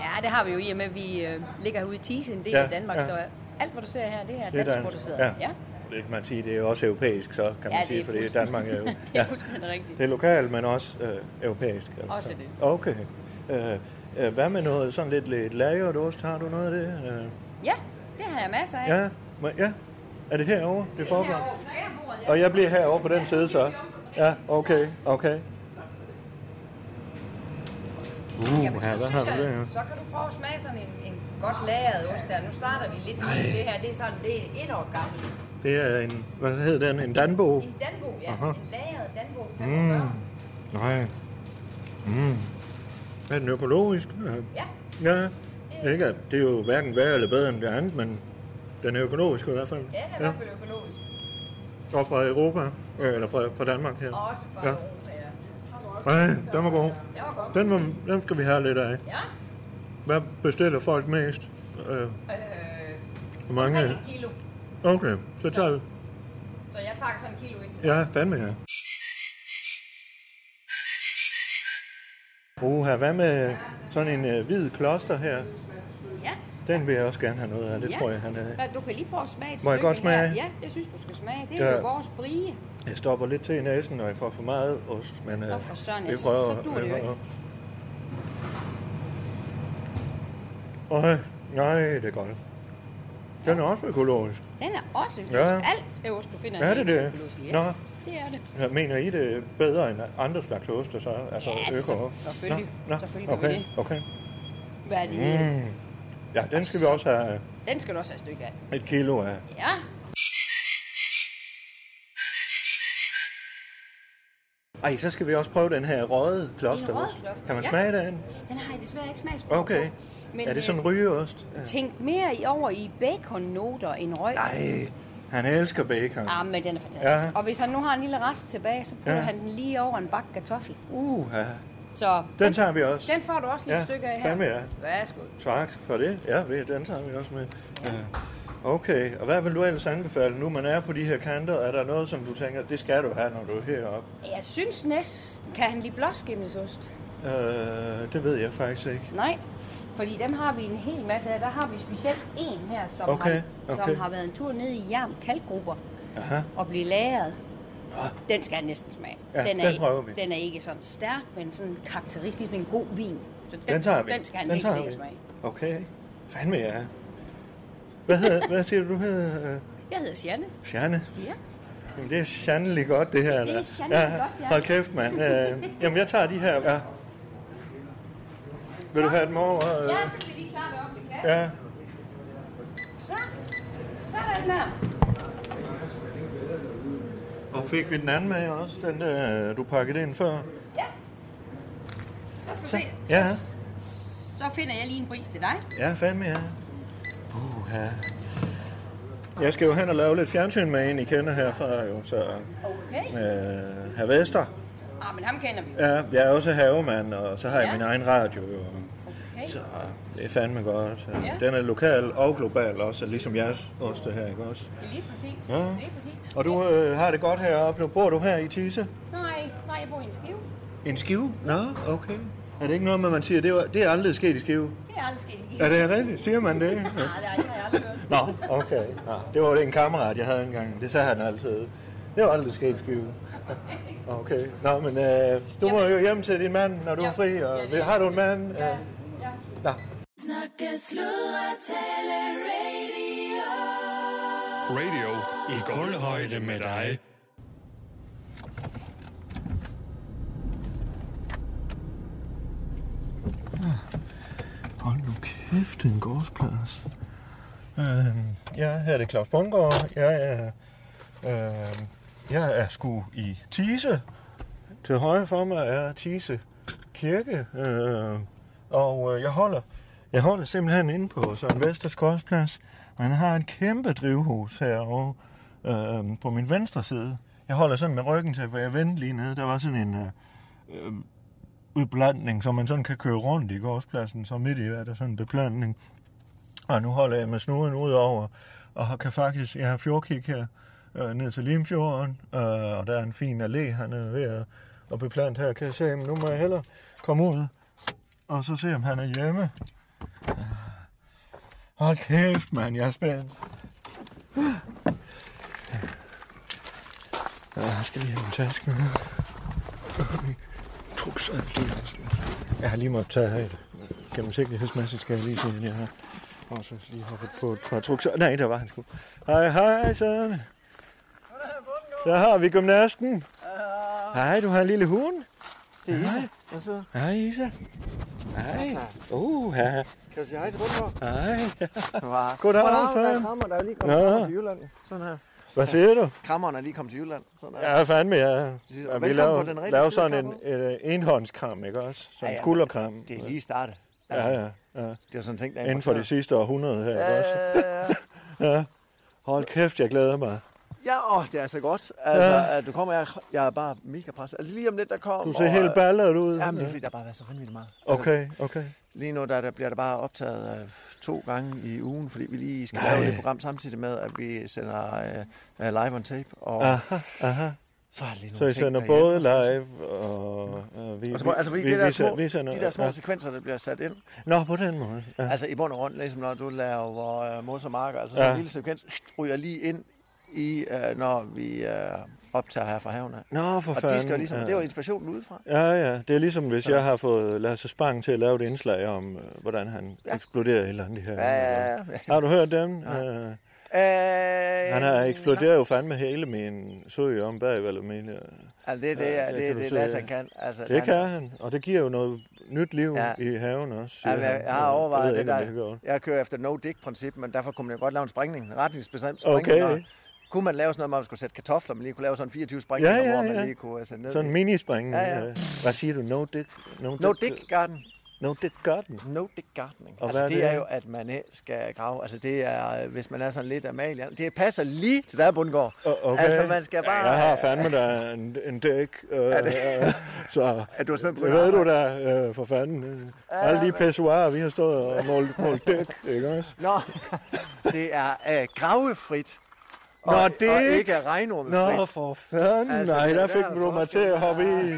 [SPEAKER 10] Ja, det har vi jo i og med, at vi øh, ligger herude i Tise, en del
[SPEAKER 7] Ja,
[SPEAKER 10] af Danmark,
[SPEAKER 7] ja.
[SPEAKER 10] så alt, hvad du ser her, det er
[SPEAKER 7] det er
[SPEAKER 10] dansk
[SPEAKER 7] dansk.
[SPEAKER 10] produceret.
[SPEAKER 7] Ja.
[SPEAKER 10] ja.
[SPEAKER 7] Det kan man sige, det er jo også europæisk, så kan man
[SPEAKER 10] Ja, det
[SPEAKER 7] sige,
[SPEAKER 10] er
[SPEAKER 7] for det er
[SPEAKER 10] fuldstændig-
[SPEAKER 7] Danmark er jo...
[SPEAKER 10] det er fuldstændig rigtigt.
[SPEAKER 7] Det er lokalt, men også øh, europæisk. eller
[SPEAKER 10] Også
[SPEAKER 7] så.
[SPEAKER 10] det.
[SPEAKER 7] Okay. Øh, øh, hvad med noget sådan lidt, lidt lagret ost? Har du noget af det? Øh,
[SPEAKER 10] ja, det har jeg masser af.
[SPEAKER 7] ja. Må- ja. Er det herovre, det foregår?
[SPEAKER 10] Herovre, vi skal have bordet, ja.
[SPEAKER 7] Og jeg bliver herovre på den side, så? Ja, okay, okay. Uh, her,
[SPEAKER 10] Jamen, så
[SPEAKER 7] hvad
[SPEAKER 10] synes
[SPEAKER 7] har du
[SPEAKER 10] jeg,
[SPEAKER 7] der?
[SPEAKER 10] så kan du prøve at smage sådan en, en godt lagret ost her. Nu starter vi lidt med det her. Det er sådan, det er et år gammelt.
[SPEAKER 7] Det er en, hvad hedder den, en danbo?
[SPEAKER 10] En danbo, ja.
[SPEAKER 7] Aha.
[SPEAKER 10] En lagret danbo.
[SPEAKER 7] Mm. Nej. Mm. Er den økologisk?
[SPEAKER 10] Ja.
[SPEAKER 7] Ja. Ikke, at det er jo hverken værre eller bedre end det andet, men den er økologisk i hvert fald.
[SPEAKER 10] Ja, det er i hvert fald økologisk.
[SPEAKER 7] Og fra Europa, øh, eller fra, fra Danmark her.
[SPEAKER 10] Og også øh, fra
[SPEAKER 7] ja.
[SPEAKER 10] Europa, ja.
[SPEAKER 7] Ej, den var god. Den, var, den skal vi have lidt af.
[SPEAKER 10] Ja.
[SPEAKER 7] Hvad bestiller folk mest? Øh,
[SPEAKER 10] Øh,
[SPEAKER 7] hvor mange?
[SPEAKER 10] omkring et kilo.
[SPEAKER 7] Okay, så tager vi.
[SPEAKER 10] Så jeg pakker sådan en kilo ind til dig.
[SPEAKER 7] Ja, fandme ja. Oha, hvad med sådan en øh, hvid kloster her?
[SPEAKER 10] Ja.
[SPEAKER 7] Den vil jeg også gerne have noget af, det
[SPEAKER 10] ja.
[SPEAKER 7] tror jeg, han øh, er.
[SPEAKER 10] Ja, Du kan lige prøve at smage et
[SPEAKER 7] Må jeg
[SPEAKER 10] stykke
[SPEAKER 7] godt smage?
[SPEAKER 10] Her. Ja, jeg synes, du skal smage. Det
[SPEAKER 7] Ja.
[SPEAKER 10] er jo vores brie.
[SPEAKER 7] Jeg stopper lidt til i næsen, når jeg får for meget ost, men øh,
[SPEAKER 10] Nå, for søren,
[SPEAKER 7] vi
[SPEAKER 10] altså,
[SPEAKER 7] prøver-
[SPEAKER 10] så dur det jo
[SPEAKER 7] vi
[SPEAKER 10] ikke.
[SPEAKER 7] prøver. Øj, nej, det er godt. Den er også økologisk.
[SPEAKER 10] Den er også økologisk.
[SPEAKER 7] Ja.
[SPEAKER 10] Alt øverst, du finder
[SPEAKER 7] Er det
[SPEAKER 10] i
[SPEAKER 7] det?
[SPEAKER 10] økologisk. Ja,
[SPEAKER 7] Nå.
[SPEAKER 10] det er det.
[SPEAKER 7] Ja, Mener I det er bedre end andre slags oster, så? Altså
[SPEAKER 10] Ja,
[SPEAKER 7] øko?
[SPEAKER 10] så- selvfølgelig.
[SPEAKER 7] Nå,
[SPEAKER 10] Selvfølgelig
[SPEAKER 7] nå,
[SPEAKER 10] gør vi
[SPEAKER 7] okay,
[SPEAKER 10] det.
[SPEAKER 7] okay.
[SPEAKER 10] Hvad er det?
[SPEAKER 7] Mm. Ja, den skal vi også have
[SPEAKER 10] Den skal du også have et stykke af.
[SPEAKER 7] et kilo af.
[SPEAKER 10] Ja.
[SPEAKER 7] Ej, så skal vi også prøve den her røde klosterost.
[SPEAKER 10] røde kloster,
[SPEAKER 7] Kan man
[SPEAKER 10] ja.
[SPEAKER 7] smage den?
[SPEAKER 10] Den har jeg desværre ikke smagsprøve
[SPEAKER 7] Okay.
[SPEAKER 10] på.
[SPEAKER 7] Men, er det sådan
[SPEAKER 10] øh,
[SPEAKER 7] en rygeost? Ja.
[SPEAKER 10] Tænk mere i- over i baconnoter end røg.
[SPEAKER 7] Ej, han elsker bacon.
[SPEAKER 10] Ah, men den er fantastisk.
[SPEAKER 7] Ja.
[SPEAKER 10] Ja. Og hvis han nu har en lille rest tilbage, så putter
[SPEAKER 7] Ja.
[SPEAKER 10] ja. han den lige over en bakke kartoffel.
[SPEAKER 7] Uh, ja.
[SPEAKER 10] Så
[SPEAKER 7] Den tager vi også.
[SPEAKER 10] Den får du også lidt
[SPEAKER 7] Ja,
[SPEAKER 10] ja. stykke af her.
[SPEAKER 7] fandme ja.
[SPEAKER 10] Værsgo.
[SPEAKER 7] Tak for det. Ja, ved- den tager vi også med. Ja. Okay, og hvad vil du ellers anbefale, nu man er på de her kanter? Er der noget, som du tænker, det skal du have, når du er heroppe?
[SPEAKER 10] Jeg synes næsten, kan han lide blåskimmelsost?
[SPEAKER 7] Øh, det ved jeg faktisk ikke.
[SPEAKER 10] Nej, fordi dem har vi en hel masse af. Der har vi specielt en her, som,
[SPEAKER 7] Okay,
[SPEAKER 10] har,
[SPEAKER 7] okay.
[SPEAKER 10] som har været en tur ned i Jarm Kalkgrupper
[SPEAKER 7] Aha. Ah.
[SPEAKER 10] og blive lagret. Den skal jeg næsten smage.
[SPEAKER 7] Ja,
[SPEAKER 10] den, er,
[SPEAKER 7] den
[SPEAKER 10] ikke-
[SPEAKER 7] prøver vi.
[SPEAKER 10] den er ikke sådan stærk, men sådan karakteristisk med en god vin. Så den,
[SPEAKER 7] Den tager vi.
[SPEAKER 10] Den skal han
[SPEAKER 7] Den
[SPEAKER 10] helt
[SPEAKER 7] tager
[SPEAKER 10] sikkert
[SPEAKER 7] vi.
[SPEAKER 10] smage.
[SPEAKER 7] Okay. Fandme ja. Hvad, hedder, hvad siger du, du hedder? Øh,
[SPEAKER 10] Jeg hedder Sianne.
[SPEAKER 7] Sjerne?
[SPEAKER 10] Ja.
[SPEAKER 7] Jamen, det er sandelig godt, det her.
[SPEAKER 10] Det er
[SPEAKER 7] da.
[SPEAKER 10] sandelig godt, ja.
[SPEAKER 7] Hold kæft, mand. Øh, jamen, jeg tager de her. Ja. Vil du have dem over? Øh,
[SPEAKER 10] Ja, så kan vi lige klare det op i kassen.
[SPEAKER 7] ja.
[SPEAKER 10] Så. Sådan der.
[SPEAKER 7] Og fik vi den anden med også, den der, du pakkede ind før?
[SPEAKER 10] Ja. Så skal du se.
[SPEAKER 7] Ja,
[SPEAKER 10] Så finder jeg lige en pris til dig.
[SPEAKER 7] ja fandme ja. Uh, ja. Jeg skal jo hen og lave lidt fjernsyn med en, I kender herfra jo, så...
[SPEAKER 10] Okay.
[SPEAKER 7] Øh, herr Vester.
[SPEAKER 10] Ah, men ham kender vi.
[SPEAKER 7] Ja, jeg er også havemand, og så har jeg
[SPEAKER 10] Ja.
[SPEAKER 7] min egen radio jo.
[SPEAKER 10] Okay.
[SPEAKER 7] Så det er fandme godt. Ja.
[SPEAKER 10] Ja.
[SPEAKER 7] Den er lokal og global også, ligesom jeres oste her, ikke også?
[SPEAKER 10] Lige præcis.
[SPEAKER 7] Ja.
[SPEAKER 10] Lige præcis.
[SPEAKER 7] Og du øh, har det godt heroppe. Nu bor du her i Tise?
[SPEAKER 10] Nej, nej, jeg bor i en skive.
[SPEAKER 7] En skive? Nå, okay. Er det ikke noget, med, man siger, det er, det er aldrig sket i skive?
[SPEAKER 10] Det er aldrig sket i skive.
[SPEAKER 7] Er det rigtigt? Siger man det?
[SPEAKER 10] Nej, det har jeg- har jeg aldrig hørt.
[SPEAKER 7] Nå, okay. Nå, det var en kammerat, jeg havde engang. Det sagde han altid. Det var aldrig sket i skive. Okay. Nå, men øh, du må jo hjem til din mand, når du er fri. Og, har du en mand? Øh, Nå.
[SPEAKER 5] Snakke, sludre, tale radio.
[SPEAKER 6] Radio i gulvhøjde med dig.
[SPEAKER 7] Hold nu kæft, det er en gårdsplads. Øh, ja, her er det Claus Bundgaard. Jeg er, øh, jeg er sgu i Tise. Til højre for mig er Tise Kirke. Øh, og øh, jeg holder jeg holder simpelthen inde på Søren Vesters Gårdsplads. Man har et kæmpe drivhus herovre øh, på min venstre side. Jeg holder sådan med ryggen til, for jeg vendte lige ned. Der var sådan en... Øh, øh, beplantning, så man sådan kan køre rundt i gårdspladsen, så midt i er der sådan en beplantning. Og nu holder jeg med snuden ud over og har- kan faktisk, jeg har fjordkig her øh, ned til Limfjorden, øh, og der er en fin allé hernede ved at, at beplante her. Kan jeg se, men nu må jeg hellere komme ud og så se, om han er hjemme. Hold kæft, mand, jeg er spændt. Ja, jeg skal lige have min taske med. altså. Jeg har lige måttet tage et gennemsigtighedsmæssigt, skal jeg lige se, at jeg har også lige hoppet på et par trukser. Nej, der var han sgu. Hej, hej, Søren. Der har vi gymnasten. Hej, du har en lille hund.
[SPEAKER 11] Det er Isa. Og så...
[SPEAKER 7] Hej, Isa. Hej. Uh, ja.
[SPEAKER 11] Kan du sige hej til Rundgaard?
[SPEAKER 7] Hej.
[SPEAKER 11] Goddag,
[SPEAKER 7] Goddag,
[SPEAKER 11] Der er
[SPEAKER 7] Søren.
[SPEAKER 11] Krammer, der er lige
[SPEAKER 7] Nå.
[SPEAKER 11] kommet til Jylland. Sådan her.
[SPEAKER 7] Hvad siger du?
[SPEAKER 11] Krammeren er lige kommet til Jylland. Sådan her.
[SPEAKER 7] Ja, fandme, ja.
[SPEAKER 11] Velkommen
[SPEAKER 7] Vi laver,
[SPEAKER 11] på den rigtige
[SPEAKER 7] laver
[SPEAKER 11] side,
[SPEAKER 7] sådan en,
[SPEAKER 11] Krammer.
[SPEAKER 7] en, en enhåndskram, ikke også? Sådan en
[SPEAKER 11] men
[SPEAKER 7] skulderkram.
[SPEAKER 11] Det er lige startet.
[SPEAKER 7] Ja, ja, ja. Det
[SPEAKER 11] er sådan en ting, der er
[SPEAKER 7] Inden for de
[SPEAKER 11] importeret.
[SPEAKER 7] sidste århundrede her, ikke
[SPEAKER 11] Ja,
[SPEAKER 7] også? ja. Hold kæft, jeg glæder mig.
[SPEAKER 11] Ja, åh, det er så godt. Altså,
[SPEAKER 7] Ja.
[SPEAKER 11] ja. du kommer, jeg, jeg er bare mega presset. Altså, lige om lidt, der kommer...
[SPEAKER 7] Du ser helt ballet ud.
[SPEAKER 11] Jamen, det er
[SPEAKER 7] Ja.
[SPEAKER 11] fordi, der bare har været så vanvittigt meget. Altså,
[SPEAKER 7] Okay, okay.
[SPEAKER 11] Lige nu, der, der bliver der bare optaget øh, to gange i ugen, fordi vi lige skal
[SPEAKER 7] Nej.
[SPEAKER 11] Nej. lave et program samtidig med, at vi sender øh, øh, live on tape. Og
[SPEAKER 7] Aha, aha.
[SPEAKER 11] Så er der lige nogle
[SPEAKER 7] Så I
[SPEAKER 11] ting
[SPEAKER 7] sender
[SPEAKER 11] derhjemme,
[SPEAKER 7] både
[SPEAKER 11] og så-
[SPEAKER 7] live og... og vi,
[SPEAKER 11] Og så, må- altså, fordi
[SPEAKER 7] vi-
[SPEAKER 11] det der
[SPEAKER 7] vi sender-
[SPEAKER 11] små,
[SPEAKER 7] vi sender-
[SPEAKER 11] de der små
[SPEAKER 7] ja.
[SPEAKER 11] sekvenser, der bliver sat ind.
[SPEAKER 7] Nå, på den måde. Ja.
[SPEAKER 11] Altså i bund og grund, ligesom når du laver uh, mos og marker, altså
[SPEAKER 7] Ja.
[SPEAKER 11] sådan en lille sekvens, ryger lige ind i, uh, når vi uh, optager her fra haven. af.
[SPEAKER 7] Nå, for
[SPEAKER 11] og
[SPEAKER 7] fanden,
[SPEAKER 11] det, skal jo ligesom,
[SPEAKER 7] ja.
[SPEAKER 11] det var inspirationen udefra.
[SPEAKER 7] Ja, ja. Det er ligesom, hvis jeg har fået Lasse Spang til at lave et indslag om, øh, hvordan han ja. eksploderer i eller andet her.
[SPEAKER 11] Ja, ja, ja.
[SPEAKER 7] Har du hørt dem? Ja. Øh,
[SPEAKER 11] Øh,
[SPEAKER 7] han har eksploderet jo fandme hele min søg om bag, eller min... øh,
[SPEAKER 11] Altså, det er det,
[SPEAKER 7] øh,
[SPEAKER 11] ja, det er
[SPEAKER 7] kan du
[SPEAKER 11] det,
[SPEAKER 7] se.
[SPEAKER 11] Lasse, han kan. Altså,
[SPEAKER 7] det
[SPEAKER 11] han-
[SPEAKER 7] kan han, og det giver jo noget nyt liv
[SPEAKER 11] Ja.
[SPEAKER 7] i haven også. siger
[SPEAKER 11] Ja, jeg,
[SPEAKER 7] han.
[SPEAKER 11] jeg har
[SPEAKER 7] Øh,
[SPEAKER 11] overvejet
[SPEAKER 7] ved
[SPEAKER 11] det,
[SPEAKER 7] ikke, om har
[SPEAKER 11] der.
[SPEAKER 7] gjort.
[SPEAKER 11] Jeg kører efter no-dick-princip, men derfor kunne man jo godt lave en springning. En retningsbestemt
[SPEAKER 7] Okay.
[SPEAKER 11] springning. og Kunne man lave sådan noget, hvor man skulle sætte kartofler, man lige kunne lave sådan 24 springninger,
[SPEAKER 7] Ja, ja,
[SPEAKER 11] hvor man
[SPEAKER 7] ja.
[SPEAKER 11] lige kunne øh, sætte ned.
[SPEAKER 7] Sådan en
[SPEAKER 11] i.
[SPEAKER 7] minispring.
[SPEAKER 11] Ja, ja.
[SPEAKER 7] øh. Hvad siger du? No dick?
[SPEAKER 11] No dick garden.
[SPEAKER 7] No dick garden.
[SPEAKER 11] No dick gardening.
[SPEAKER 7] Og
[SPEAKER 11] altså,
[SPEAKER 7] hvad er
[SPEAKER 11] det,
[SPEAKER 7] det?
[SPEAKER 11] er jo, at man øh, skal grave. Altså, det er, øh, hvis man er sådan lidt amalie. Det passer lige til der, Bundgaard.
[SPEAKER 7] Okay.
[SPEAKER 11] Altså, man skal bare...
[SPEAKER 7] Jeg har fandme da en, en dæk. Øh,
[SPEAKER 11] Er det-
[SPEAKER 7] øh, så
[SPEAKER 11] Er du simpelthen
[SPEAKER 7] det
[SPEAKER 11] begyndt
[SPEAKER 7] ved
[SPEAKER 11] at
[SPEAKER 7] du da, øh, for fanden. Øh, alle de pessoarer, vi har stået og målt, målt dæk, ikke også?
[SPEAKER 11] Nå, det er øh, gravefrit.
[SPEAKER 7] Nå,
[SPEAKER 11] Og,
[SPEAKER 7] det-
[SPEAKER 11] og ikke regnormefrit.
[SPEAKER 7] Nå, for fanden. Nej,
[SPEAKER 11] det
[SPEAKER 7] der
[SPEAKER 11] er
[SPEAKER 7] fik du mig til at hoppe i.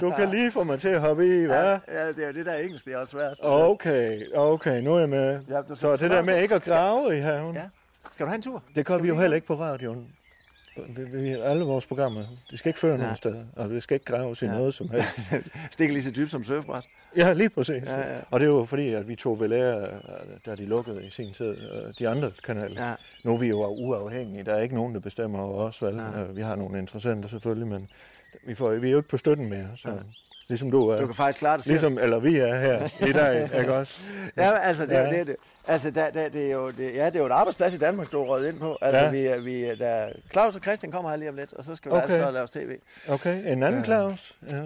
[SPEAKER 7] Du kan lige få mig til at hoppe i, hvad?
[SPEAKER 11] Ja, det er jo det, der er engelsk, det er også svært.
[SPEAKER 7] Okay, okay, nu er jeg med.
[SPEAKER 11] Ja, du skal-
[SPEAKER 7] Så det der med ikke at grave i haven,
[SPEAKER 11] Ja. Skal du have en tur?
[SPEAKER 7] det kom vi jo heller ikke på radioen. Vi, vi, alle vores programmer, de skal ikke føre nogen steder, og det skal ikke graves i noget som helst.
[SPEAKER 11] Stikker lige så dybt som surfbræt.
[SPEAKER 7] Ja, lige præcis.
[SPEAKER 11] Ja, ja.
[SPEAKER 7] Og det er jo fordi, at vi tog ved lære, øh, da de lukkede i sin tid, øh, de andre kanaler.
[SPEAKER 11] Ja.
[SPEAKER 7] Nu er vi jo uafhængige. Der er ikke nogen, der bestemmer over os. Vel? Øh, Vi har nogle interessenter selvfølgelig, men vi, får, vi er jo ikke på støtten mere. Så. Ligesom du er.
[SPEAKER 11] Du kan faktisk klare det selv.
[SPEAKER 7] ligesom, Eller vi er her i dag, ikke også?
[SPEAKER 11] Ja, men altså, det er jo
[SPEAKER 7] Ja.
[SPEAKER 11] det, det. Altså, der, der, det er jo, det, ja, det er jo et arbejdsplads i Danmark, du er røget ind på. Altså,
[SPEAKER 7] Ja.
[SPEAKER 11] ja. vi, er- vi, er- der, Claus og Christian kommer her lige om lidt, og så skal vi
[SPEAKER 7] Okay.
[SPEAKER 11] okay. altså lave os tv.
[SPEAKER 7] Okay, en anden
[SPEAKER 11] Øh.
[SPEAKER 7] Claus. Ja.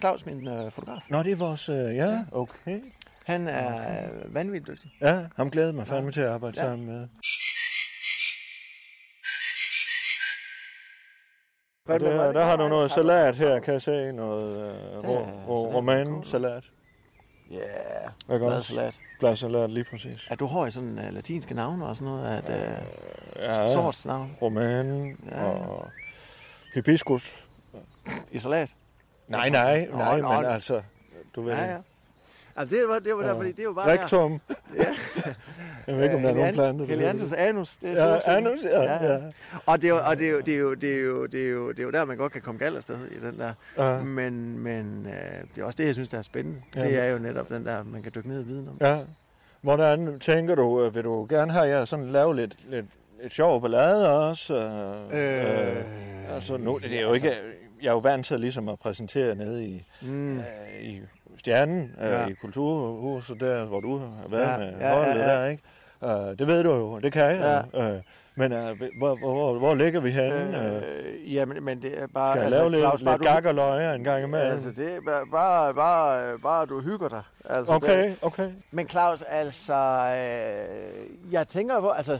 [SPEAKER 11] Claus, min øh, fotograf.
[SPEAKER 7] Nå, det er vores... Øh, ja, okay.
[SPEAKER 11] Han er øh, vanvittigt dygtig.
[SPEAKER 7] Ja, ham glæder jeg mig fandme til at arbejde
[SPEAKER 11] Ja.
[SPEAKER 7] sammen med. Og
[SPEAKER 11] Godt, men
[SPEAKER 7] Der,
[SPEAKER 11] hvordan
[SPEAKER 7] der har du
[SPEAKER 11] kommer
[SPEAKER 7] noget
[SPEAKER 11] det fra?
[SPEAKER 7] salat her, kan jeg se. Noget øh, rå, rå, romansalat.
[SPEAKER 11] Ja,
[SPEAKER 7] Hvad
[SPEAKER 11] yeah.
[SPEAKER 7] godt.
[SPEAKER 11] bladsalat.
[SPEAKER 7] Bladsalat, lige præcis.
[SPEAKER 11] Er du hård i sådan uh, latinske navne og sådan noget? At, uh,
[SPEAKER 7] Ja,
[SPEAKER 11] Sorts navn.
[SPEAKER 7] Roman
[SPEAKER 11] Ja.
[SPEAKER 7] og hibiskus.
[SPEAKER 11] I salat?
[SPEAKER 7] Nej, nej,
[SPEAKER 11] Nå,
[SPEAKER 7] nej,
[SPEAKER 11] nå.
[SPEAKER 7] men altså, du ved.
[SPEAKER 11] Ja, ja. Altså, det var, det var der,
[SPEAKER 7] Og
[SPEAKER 11] fordi det er jo bare
[SPEAKER 7] rektum.
[SPEAKER 11] der. Ja.
[SPEAKER 7] Jeg ved ikke, om der er nogen
[SPEAKER 11] Helian-
[SPEAKER 7] plante, der
[SPEAKER 11] Helianthus
[SPEAKER 7] hedder det.
[SPEAKER 11] anus, det er
[SPEAKER 7] Ja,
[SPEAKER 11] solsikken.
[SPEAKER 7] anus, ja, ja.
[SPEAKER 11] Og det er jo, og det er jo, det er jo, det er jo, det er jo, det er jo der, man godt kan komme galt afsted i den der.
[SPEAKER 7] Ja.
[SPEAKER 11] Men, men øh, det er også det, jeg synes, der er spændende.
[SPEAKER 7] Ja.
[SPEAKER 11] Det er jo netop den der, man kan dykke ned i viden om.
[SPEAKER 7] Ja. Hvordan tænker du, øh, vil du gerne have jer sådan lave lidt, lidt, lidt sjov ballade også? Øh, øh, altså nu, det er jo
[SPEAKER 11] altså-
[SPEAKER 7] ikke, jeg er jo vant til ligesom at præsentere nede i,
[SPEAKER 11] Mm.
[SPEAKER 7] øh, i Stjernen, øh,
[SPEAKER 11] Ja.
[SPEAKER 7] i Kulturhuset der, hvor du har været
[SPEAKER 11] Ja,
[SPEAKER 7] med
[SPEAKER 11] ja,
[SPEAKER 7] holdet
[SPEAKER 11] ja, ja.
[SPEAKER 7] der, ikke? Øh, det ved du jo, det kan jeg ja. øh, Men øh, hvor, hvor, hvor ligger vi henne? Øh,
[SPEAKER 11] Øh, ja, men, men det er bare... altså,
[SPEAKER 7] Skal jeg lave lidt-
[SPEAKER 11] Claus, bare
[SPEAKER 7] lidt
[SPEAKER 11] du-
[SPEAKER 7] gak og løjer en gang imellem?
[SPEAKER 11] Altså, det er bare, bare, bare, bare du hygger dig. Altså,
[SPEAKER 7] Okay,
[SPEAKER 11] det,
[SPEAKER 7] okay.
[SPEAKER 11] Men Claus, altså, øh, jeg tænker på, altså,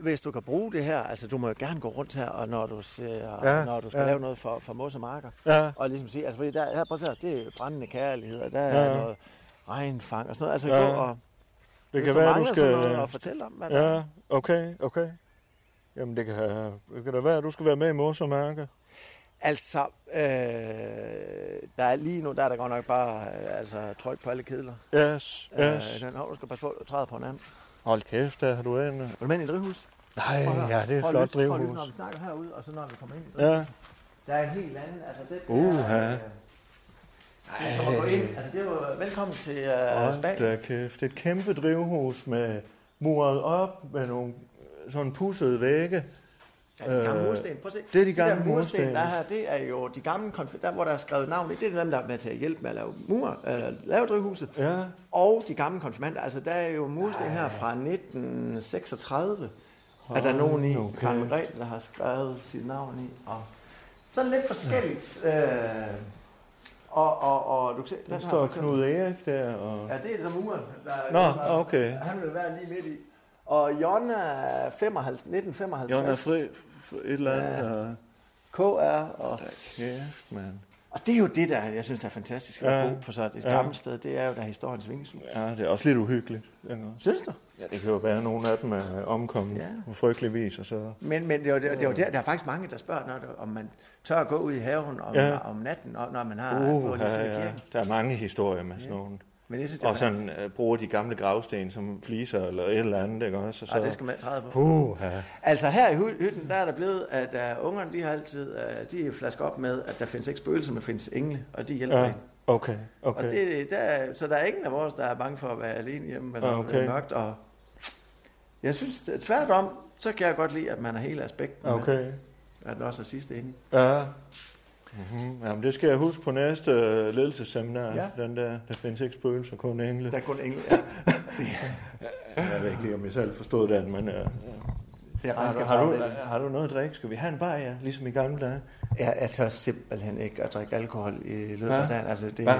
[SPEAKER 11] hvis du kan bruge det her, altså du må jo gerne gå rundt her, og når du, ser,
[SPEAKER 7] Ja,
[SPEAKER 11] ja, når du skal
[SPEAKER 7] ja.
[SPEAKER 11] ja. lave noget for, for mos og marker,
[SPEAKER 7] Ja.
[SPEAKER 11] og ligesom sige, altså fordi der, her, prøv at se, her, det er brændende kærlighed, og der
[SPEAKER 7] Ja.
[SPEAKER 11] er noget regnfang og sådan noget, altså
[SPEAKER 7] Ja.
[SPEAKER 11] gå og Hvis
[SPEAKER 7] Det kan
[SPEAKER 11] du
[SPEAKER 7] være, du
[SPEAKER 11] mangler
[SPEAKER 7] skal...
[SPEAKER 11] sådan noget at fortælle om, hvad
[SPEAKER 7] ja,
[SPEAKER 11] der er.
[SPEAKER 7] okay, okay. Jamen, det kan, det kan da være, at du skal være med i Morsemærke.
[SPEAKER 11] Altså, øh, der er lige nu, der er der godt nok bare øh, altså, tryk på alle kedler.
[SPEAKER 7] Yes, yes.
[SPEAKER 11] Øh, den hov, du skal passe på, du træder på en anden.
[SPEAKER 7] Hold kæft, der har du en... Er
[SPEAKER 11] du med i drivhus?
[SPEAKER 7] Nej,
[SPEAKER 11] Prøv at høre.
[SPEAKER 7] Øh, ja, det er
[SPEAKER 11] Prøv
[SPEAKER 7] et
[SPEAKER 11] at
[SPEAKER 7] flot
[SPEAKER 11] lytte- Prøv at lytte,
[SPEAKER 7] drivhus.
[SPEAKER 11] når vi snakker herude, og så når vi kommer ind.
[SPEAKER 7] Ja.
[SPEAKER 11] Der er en helt anden, altså det der,
[SPEAKER 7] Uha.
[SPEAKER 11] øh, det er som at gå ind, altså det er jo, velkommen til øh,
[SPEAKER 7] Hold
[SPEAKER 11] Spanien.
[SPEAKER 7] da kæft, et kæmpe drivhus med muret op med nogle sådan pussede vægge.
[SPEAKER 11] Ja, de gamle mursten. Prøv at se.
[SPEAKER 7] øh, Det er de gamle
[SPEAKER 11] der mursten,
[SPEAKER 7] mursten.
[SPEAKER 11] der er her, det er jo de gamle konf- der hvor der er skrevet navn i. Det er dem, der er med til at hjælpe med at lave, mur, eller lave drivhuset.
[SPEAKER 7] Ja.
[SPEAKER 11] Og de gamle konfirmander. Altså, der er jo mursten her fra 1936. er der
[SPEAKER 7] Hold
[SPEAKER 11] nogen i,
[SPEAKER 7] nu kæft.
[SPEAKER 11] Karen Margrethe, der har skrevet sit navn i. Og sådan lidt forskelligt. Øh, og, og, og, du kan se, den,
[SPEAKER 7] Der
[SPEAKER 11] her
[SPEAKER 7] står
[SPEAKER 11] for eksempel-
[SPEAKER 7] Knud Erik der, og...
[SPEAKER 11] Ja, det er så muren. Der,
[SPEAKER 7] Nå,
[SPEAKER 11] der-
[SPEAKER 7] okay.
[SPEAKER 11] Han vil være lige midt i. Og Jonna er 55, 1955.
[SPEAKER 7] Jonna Fri, Fri- et eller andet, og...
[SPEAKER 11] KR og...
[SPEAKER 7] Kæft, mand.
[SPEAKER 11] Og det er jo det, der jeg synes, der er fantastisk at
[SPEAKER 7] Ja.
[SPEAKER 11] bo på sådan et
[SPEAKER 7] Ja.
[SPEAKER 11] gammelt sted. Det er jo der historiens vingesus.
[SPEAKER 7] Ja, det er også lidt uhyggeligt. ikke også?
[SPEAKER 11] Synes du?
[SPEAKER 7] Ja, det kan jo være, at nogle af dem er omkommet ja. på frygtelig vis, og så...
[SPEAKER 11] Men, men det er jo, det, er jo der, der er faktisk mange, der spørger, når, der- om man tør at gå ud i haven om,
[SPEAKER 7] Ja.
[SPEAKER 11] ja. om natten, og når man har
[SPEAKER 7] Uh,
[SPEAKER 11] gået lige siden af
[SPEAKER 7] ja, ja.
[SPEAKER 11] kirken.
[SPEAKER 7] Der er mange historier med sådan nogle.
[SPEAKER 11] Men jeg synes, det er
[SPEAKER 7] og sådan øh, bruger de gamle gravsten som fliser eller et eller andet, ikke også? Og så,
[SPEAKER 11] Og det skal man ikke træde på.
[SPEAKER 7] Uh, ja.
[SPEAKER 11] Altså her i hy- hytten, der er der blevet, at uh, ungerne, de har altid, uh, de flasker op med, at der findes ikke spøgelser, men findes engle, og de hjælper ja.
[SPEAKER 7] ja.
[SPEAKER 11] en.
[SPEAKER 7] Okay,
[SPEAKER 11] Og
[SPEAKER 7] okay.
[SPEAKER 11] det, der, er- så der er ingen af vores, der er bange for at være alene hjemme, eller
[SPEAKER 7] Ah,
[SPEAKER 11] okay. det
[SPEAKER 7] okay.
[SPEAKER 11] er mørkt. Og jeg synes, det er svært om, så kan jeg godt lide, at man har hele aspekten. med,
[SPEAKER 7] Okay.
[SPEAKER 11] At den også er sidste ende.
[SPEAKER 7] Ja. Mm-hmm. Jamen, det skal jeg huske på næste øh, ledelsesseminar.
[SPEAKER 11] Ja.
[SPEAKER 7] Ja. Den der, der findes ikke spøgelser, kun engle. Der
[SPEAKER 11] er kun engle, ja.
[SPEAKER 7] jeg ved ikke lige, om jeg selv forstod det, men... Øh,
[SPEAKER 11] Det er
[SPEAKER 7] har, du, har, du, har du noget at drikke? Skal vi have en bar, ja? Ligesom i gamle dage.
[SPEAKER 11] Jeg, jeg tør simpelthen ikke at drikke alkohol i løbet
[SPEAKER 7] Hva?
[SPEAKER 11] af dagen. Altså, det,
[SPEAKER 7] Hva?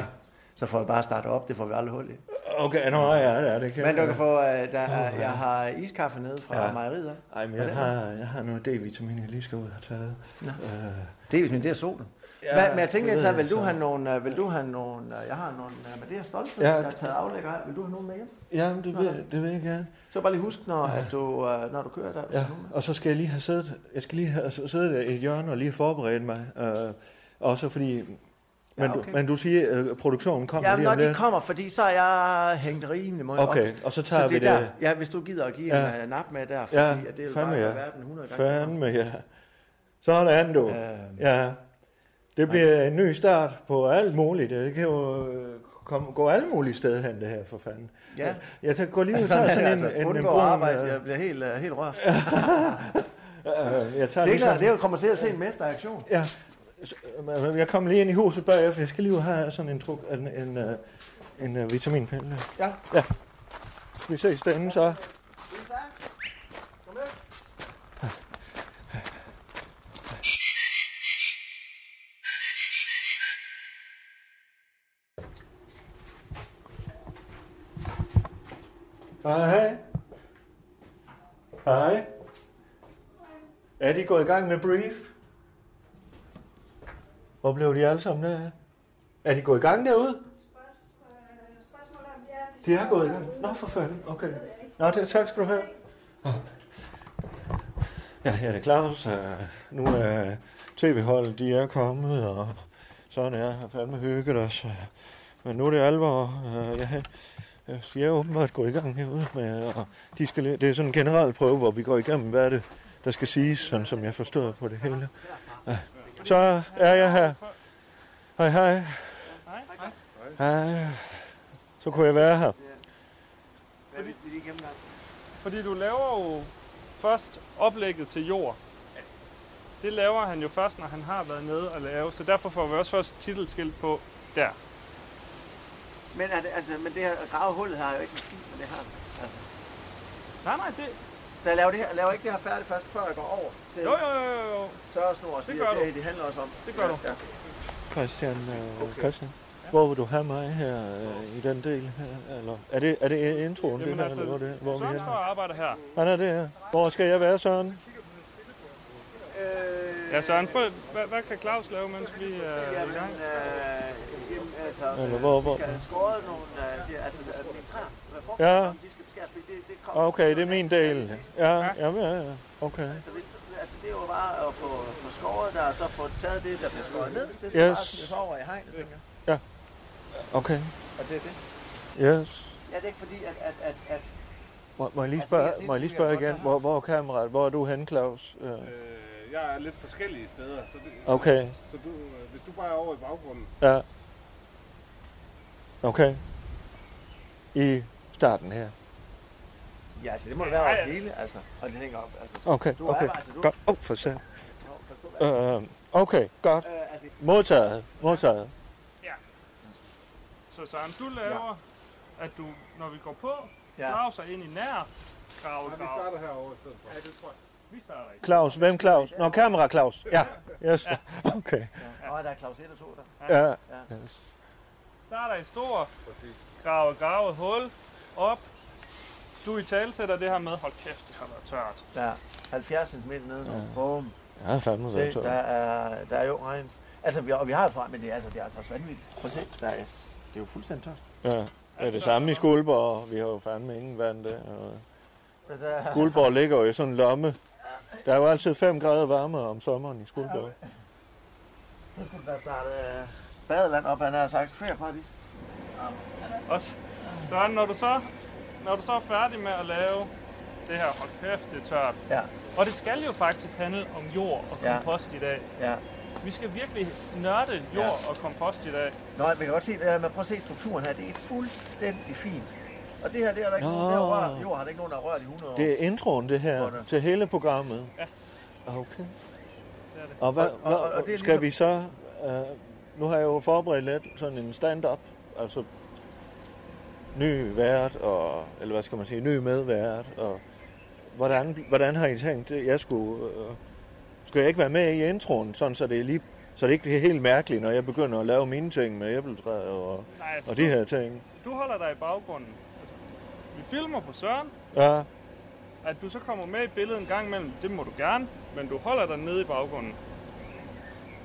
[SPEAKER 11] så får jeg bare starte op, det får vi aldrig hul i.
[SPEAKER 7] Okay, nå ja, ja, det kan
[SPEAKER 11] Men du
[SPEAKER 7] jeg.
[SPEAKER 11] kan få, øh, der er,
[SPEAKER 7] Uha.
[SPEAKER 11] jeg har iskaffe nede fra
[SPEAKER 7] Ja.
[SPEAKER 11] ja. mejeriet.
[SPEAKER 7] Ej, men jeg har, jeg har noget D-vitamin, jeg lige skal ud og have taget.
[SPEAKER 11] Nå.
[SPEAKER 7] Øh,
[SPEAKER 11] D-vitamin, det er solen. Ja, men jeg tænkte, jeg tager, vil du have nogle, øh, vil du have nogle, øh, jeg har nogle, øh, men det er jeg stolt af,
[SPEAKER 7] Ja.
[SPEAKER 11] jeg har taget aflægger af. Vil du have nogle med hjem?
[SPEAKER 7] Ja, men det
[SPEAKER 11] Nå,
[SPEAKER 7] vil, det vil jeg gerne.
[SPEAKER 11] Så bare lige husk, når, at du, øh, når du kører der.
[SPEAKER 7] Ja, og så skal jeg lige have siddet, jeg skal lige have siddet der i et hjørne og lige forberedt mig. Øh, også fordi, men, ja, okay.
[SPEAKER 11] okay.
[SPEAKER 7] du, men du siger, at produktionen kommer
[SPEAKER 11] Jamen,
[SPEAKER 7] lige
[SPEAKER 11] når
[SPEAKER 7] om
[SPEAKER 11] de
[SPEAKER 7] lidt.
[SPEAKER 11] kommer, fordi så er jeg hængt rimelig meget
[SPEAKER 7] Okay,
[SPEAKER 11] op.
[SPEAKER 7] og så tager
[SPEAKER 11] så det
[SPEAKER 7] vi
[SPEAKER 11] er
[SPEAKER 7] det-
[SPEAKER 11] Der, ja, hvis du gider at give ja. en uh, nap med der, fordi
[SPEAKER 7] ja,
[SPEAKER 11] at det Øh. er jo
[SPEAKER 7] fandme
[SPEAKER 11] bare
[SPEAKER 7] ja.
[SPEAKER 11] ja. verden 100 gange.
[SPEAKER 7] Fandme, ja. Sådan du. ja. Det bliver en ny start på alt muligt. Det kan jo øh, komme, gå alle mulige steder hen, det her, for fanden.
[SPEAKER 11] Ja.
[SPEAKER 7] Jeg tager, går lige ud og
[SPEAKER 11] altså,
[SPEAKER 7] tager
[SPEAKER 11] sådan
[SPEAKER 7] sådan
[SPEAKER 11] er
[SPEAKER 7] en, en, en,
[SPEAKER 11] det, altså, undgå
[SPEAKER 7] brun,
[SPEAKER 11] arbejde,
[SPEAKER 7] øh,
[SPEAKER 11] jeg bliver helt, uh, helt rørt.
[SPEAKER 7] øh, jeg tager
[SPEAKER 11] det, er
[SPEAKER 7] lige
[SPEAKER 11] klart,
[SPEAKER 7] sådan-
[SPEAKER 11] det er jo kommer til at se en mesteraktion.
[SPEAKER 7] Ja. Så, øh, Jeg kom lige ind i huset bagefter. Jeg skal lige have sådan en, truk, en, en, øh, en, en vitaminpille.
[SPEAKER 11] Ja.
[SPEAKER 7] ja. Vi ses derinde så. Hej. Hej. Er de gået i gang med brief? Hvor blev de alle sammen der? Er de gået i gang derude? De er gået i gang. Nå, for fanden. Okay. Nå, det, tak skal du have. Ja, her er det Claus. Øh, Nu er tv-holdet, de er kommet, og sådan er jeg fandme hygget os. Øh, Men nu er det alvor. Øh, Jeg, jeg skal åbenbart gå i gang herude med, og de skal, læ- det er sådan en generel prøve, hvor vi går igennem, hvad er det, der skal siges, sådan som jeg forstår på det hele. Ja. Så er jeg her. Hej, hej. Hej. Så kunne jeg være her.
[SPEAKER 11] Hvad vil de gennemgang?
[SPEAKER 12] Fordi du laver jo først oplægget til jord. Det laver han jo først, når han har været nede og lave, så derfor får vi også først titelskilt på der.
[SPEAKER 11] Men, er det, altså, men det her gravehullet har jo ikke en skid med det her. Altså.
[SPEAKER 12] Nej, nej, det...
[SPEAKER 11] Så jeg laver, det her, jeg laver ikke det her færdigt først, før jeg går over til
[SPEAKER 12] Jo, jo, jo, jo.
[SPEAKER 11] tørresnor og
[SPEAKER 12] Det
[SPEAKER 11] siger,
[SPEAKER 12] gør
[SPEAKER 11] at det,
[SPEAKER 12] du.
[SPEAKER 11] her, det handler også om.
[SPEAKER 12] Det gør
[SPEAKER 11] ja,
[SPEAKER 12] du.
[SPEAKER 11] Ja.
[SPEAKER 7] Christian, øh, okay. Christian. Hvor vil du have mig her øh, i den del? Her, eller er det, er det introen, det her, eller hvor, er det, hvor er
[SPEAKER 12] altså,
[SPEAKER 7] vi
[SPEAKER 12] Søren
[SPEAKER 7] henne?
[SPEAKER 12] står og arbejder her.
[SPEAKER 7] Han er det her. Hvor skal jeg være, Søren?
[SPEAKER 12] Ja, Søren, prøv, hvad, hvad kan Claus lave, mens vi øh, er i gang?
[SPEAKER 11] Øh, jamen, Altså,
[SPEAKER 7] Eller
[SPEAKER 11] øh,
[SPEAKER 7] hvor-
[SPEAKER 11] vi
[SPEAKER 7] hvor-
[SPEAKER 11] skal have skåret nogle af de, altså, øh, mine træer. Hvad får
[SPEAKER 7] Ja.
[SPEAKER 11] de skal beskæres, fordi det, det kommer.
[SPEAKER 7] Okay, det er min del. Ja, ja, ja, ja. Okay.
[SPEAKER 11] Altså, hvis du, altså, det er jo bare at få, få skåret der, og så få taget det, der bliver skåret ned. Altså, Det skal
[SPEAKER 7] Yes.
[SPEAKER 11] yes. bare smides over i hegnet, tænker
[SPEAKER 7] Ja.
[SPEAKER 11] jeg.
[SPEAKER 7] Okay.
[SPEAKER 11] Og det er det.
[SPEAKER 7] Yes.
[SPEAKER 11] Ja, det er ikke fordi, at... at, at, at
[SPEAKER 7] Må, må jeg
[SPEAKER 11] Altså,
[SPEAKER 7] lige spørge, må jeg lige spørge igen? Hvor, hvor er kameraet? Hvor er du henne, Claus? Øh,
[SPEAKER 13] Øh, jeg er lidt forskellige steder, så, det,
[SPEAKER 7] Okay.
[SPEAKER 13] så, så du, øh, hvis du bare er over i baggrunden,
[SPEAKER 7] Ja. Okay. I starten her.
[SPEAKER 11] ja, altså, det må det være over det hele, altså. Og det hænger op, altså.
[SPEAKER 7] Okay,
[SPEAKER 11] du
[SPEAKER 7] okay.
[SPEAKER 11] Er, altså, du,
[SPEAKER 7] Godt. Åh, for sat. Øh, okay, godt.
[SPEAKER 11] øh, altså-
[SPEAKER 7] Modtaget, modtaget.
[SPEAKER 12] Så Søren, du laver, ja. at du, når vi går på,
[SPEAKER 11] Ja.
[SPEAKER 12] ja. graver sig ind i nær grave,
[SPEAKER 13] Nej,
[SPEAKER 12] grave.
[SPEAKER 13] vi starter herovre i stedet for.
[SPEAKER 12] Ja, det tror jeg. Vi starter ikke.
[SPEAKER 7] Claus, hvem Claus? Nå, kamera Claus. Ja, yes. Okay.
[SPEAKER 11] Ja. Og der er Claus 1 og 2 der.
[SPEAKER 7] Ja. Yes.
[SPEAKER 12] Starter i stor, grave, grave, hul, op. Du i tale sætter det her med, hold kæft, det har været tørt.
[SPEAKER 11] Ja, 70 cm nede. Ja. Bum.
[SPEAKER 7] Ja, fandme så
[SPEAKER 11] Se,
[SPEAKER 7] tørt.
[SPEAKER 11] der er, der er jo regn. Altså, vi, og vi har jo fra, men det er, altså, det er altså også vanvittigt. Prøv at se, der er, det er jo fuldstændig tørt.
[SPEAKER 7] Ja, det er det samme i Skuldborg. Vi har jo fandme ingen vand der. og
[SPEAKER 11] Altså,
[SPEAKER 7] Skuldborg ligger jo i sådan en lomme. Der er jo altid 5 grader varmere om sommeren i Skuldborg.
[SPEAKER 11] Så skulle der starte øh, badeland op, han har sagt ferieparadis.
[SPEAKER 12] Også. Så når du så, når du så er færdig med at lave det her, hold kæft, det er tørt.
[SPEAKER 11] Ja.
[SPEAKER 12] Og det skal jo faktisk handle om jord og
[SPEAKER 11] Ja.
[SPEAKER 12] kompost i dag.
[SPEAKER 11] Ja.
[SPEAKER 12] Vi skal virkelig nørde jord
[SPEAKER 11] Ja.
[SPEAKER 12] og kompost i dag.
[SPEAKER 11] Nå, man kan godt se, det her, man prøver at se strukturen her, det er fuldstændig fint. Og det her, det er der ikke
[SPEAKER 7] Nå.
[SPEAKER 11] nogen, der har rørt. Jord har der ikke nogen, der har rørt i 100 år.
[SPEAKER 7] Det er introen, det her, til hele programmet.
[SPEAKER 11] Ja.
[SPEAKER 7] Okay.
[SPEAKER 12] Det er det.
[SPEAKER 7] Og, hvad,
[SPEAKER 11] Og- og- og- og det er
[SPEAKER 7] hvad, skal
[SPEAKER 11] ligesom-
[SPEAKER 7] vi så... øh, nu har jeg jo forberedt lidt sådan en stand-up, altså ny vært, og, eller hvad skal man sige, ny medvært, og hvordan, hvordan har I tænkt, at jeg skulle... Øh, skulle jeg ikke være med i introen, sådan så det er lige så det ikke bliver helt mærkeligt, når jeg begynder at lave mine ting med æbletræ og,
[SPEAKER 12] Nej,
[SPEAKER 7] og de her ting.
[SPEAKER 12] Du holder dig i baggrunden. Altså, vi filmer på Søren.
[SPEAKER 7] Ja,
[SPEAKER 12] At du så kommer med i billedet en gang imellem, det må du gerne, men du holder dig nede i baggrunden.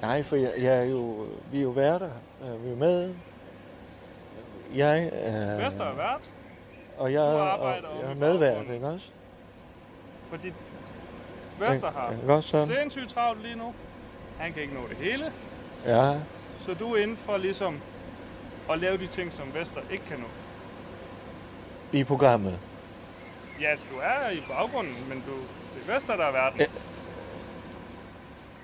[SPEAKER 7] nej, for jeg, jeg er jo, vi er jo værter, øh, vi er med. Jeg, øh,
[SPEAKER 12] Vester er vært,
[SPEAKER 7] Og jeg,
[SPEAKER 12] Du
[SPEAKER 7] og,
[SPEAKER 12] arbejder
[SPEAKER 7] jeg
[SPEAKER 12] oppe
[SPEAKER 7] er
[SPEAKER 12] i
[SPEAKER 7] medvært, ikke også?
[SPEAKER 12] fordi Vester
[SPEAKER 7] Ja, ja,
[SPEAKER 12] har
[SPEAKER 7] godt så.
[SPEAKER 12] sindssygt travlt lige nu. Han kan ikke nå det hele,
[SPEAKER 7] Ja,
[SPEAKER 12] så du er inde for ligesom at lave de ting, som Vester ikke kan nå.
[SPEAKER 7] i programmet.
[SPEAKER 12] Ja, altså, du er i baggrunden, men du, det er Vester, der er verden.
[SPEAKER 7] Ja.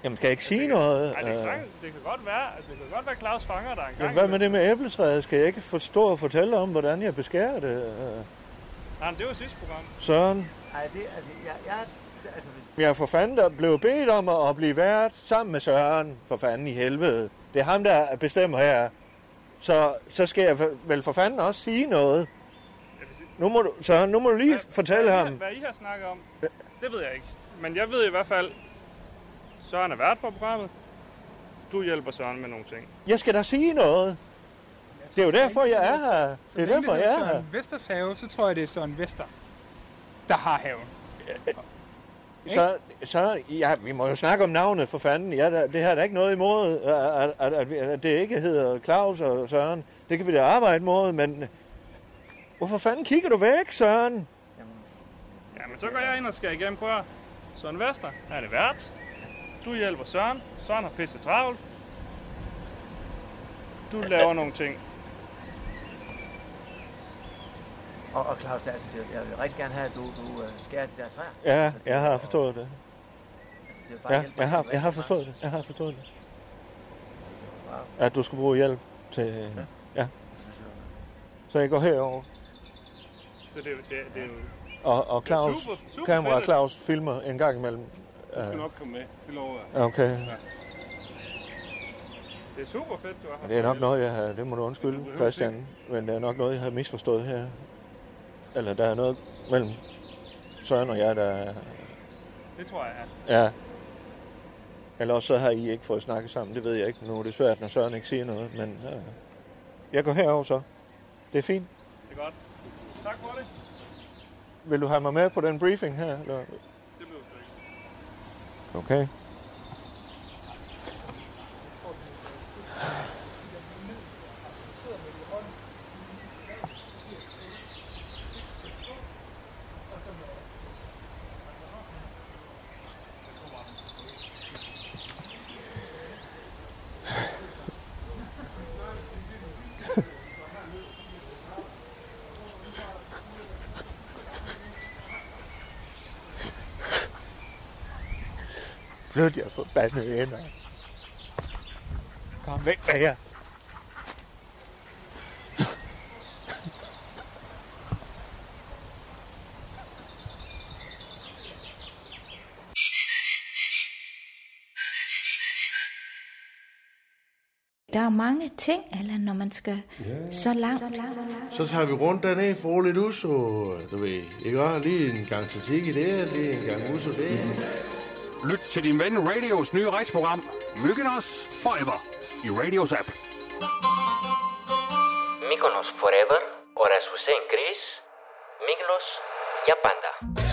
[SPEAKER 7] Jamen, skal jeg ikke sige noget?
[SPEAKER 12] Ej, det, kan
[SPEAKER 7] Øh,
[SPEAKER 12] sagtens, det kan godt være, at det kan godt være Claus fanger dig en gang.
[SPEAKER 7] Jamen, hvad med det med æbletræet? Skal jeg ikke forstå og fortælle om, hvordan jeg beskærer det? Øh,
[SPEAKER 12] Nej, men det var sidste program.
[SPEAKER 7] Søren,
[SPEAKER 11] Nej, det er altså, jeg, jeg, altså, hvis,
[SPEAKER 7] jeg for fanden der blev bedt om at at blive vært sammen med Søren. For fanden i helvede. Det er ham, der bestemmer her. Så, så skal jeg for- vel for fanden også sige noget. Nu må du, Søren, nu må du lige fortælle
[SPEAKER 12] Hvad, I-
[SPEAKER 7] ham.
[SPEAKER 12] hvad I har snakket om, det ved jeg ikke. Men jeg ved i hvert fald, Søren er vært på programmet. Du hjælper Søren med nogle ting.
[SPEAKER 7] Jeg skal da sige noget. Det er jo derfor, jeg er her.
[SPEAKER 14] Så
[SPEAKER 7] Det er
[SPEAKER 14] længe
[SPEAKER 7] derfor, jeg
[SPEAKER 14] hedder
[SPEAKER 7] er her.
[SPEAKER 14] Søren Vesters have, så tror jeg, det er Søren Vester, der har haven.
[SPEAKER 7] Så, så ja, vi må jo snakke om navnet for fanden. Ja, der, det her er der ikke noget imod, at, at, at, vi- at det ikke hedder Claus og Søren. Det kan vi da arbejde mod, men hvorfor fanden kigger du væk, Søren?
[SPEAKER 12] Ja, men så går jeg ind og skal igennem på her. Søren Vester, han er vært. Du hjælper Søren. Søren har pisse travlt. Du laver nogle ting.
[SPEAKER 11] og, og Claus, der, altså, det, jeg vil rigtig gerne have, at du, du øh, skærer de der træer.
[SPEAKER 7] Ja, jeg har forstået det.
[SPEAKER 11] Altså, Det er bare
[SPEAKER 7] Ja,
[SPEAKER 11] hjælp,
[SPEAKER 7] jeg har,
[SPEAKER 11] det er
[SPEAKER 7] jeg har
[SPEAKER 11] rigtig
[SPEAKER 7] forstået det. Jeg har forstået det.
[SPEAKER 11] Altså, meget.
[SPEAKER 7] At du skal bruge hjælp til...
[SPEAKER 11] Altså,
[SPEAKER 7] Ja. Så jeg går herover
[SPEAKER 12] Så det, er jo- det, er- det er jo...
[SPEAKER 7] og, og
[SPEAKER 12] Det er
[SPEAKER 7] Claus,
[SPEAKER 12] super- super
[SPEAKER 7] kamera
[SPEAKER 12] fedt.
[SPEAKER 7] Claus filmer en gang imellem.
[SPEAKER 13] du skal
[SPEAKER 7] Øh,
[SPEAKER 13] nok komme med. Det lover jeg.
[SPEAKER 7] Okay.
[SPEAKER 13] Ja.
[SPEAKER 12] Det er super fedt, du har
[SPEAKER 7] Det er nok noget, jeg har, det må du undskylde, Christian, men det er nok noget, jeg har misforstået her. Eller der er noget mellem Søren og jeg, der
[SPEAKER 12] Det tror jeg,
[SPEAKER 7] er... Eller også så har I ikke fået snakket sammen, det ved jeg ikke. Nu er det svært, når Søren ikke siger noget, men øh, jeg går herover så. Det er fint.
[SPEAKER 12] det er godt. Tak for det.
[SPEAKER 7] Vil du have mig med på den briefing her? Eller?
[SPEAKER 12] Det blev det.
[SPEAKER 7] Okay. Flyt jer forbandede ender. Kom væk med jer.
[SPEAKER 15] Der er mange ting, Allan, når man skal
[SPEAKER 1] Ja.
[SPEAKER 15] så langt.
[SPEAKER 1] Så tager vi rundt dernede for lidt uso, du ved. Ikke også? Lige en gang til tiki der, lige en gang uso der.
[SPEAKER 8] Lyt til din ven Radios nye rejseprogram, Myggen os Forever, i Radios app.
[SPEAKER 16] Mykonos Forever oraz Hussein Chris, Miglos Yapanda.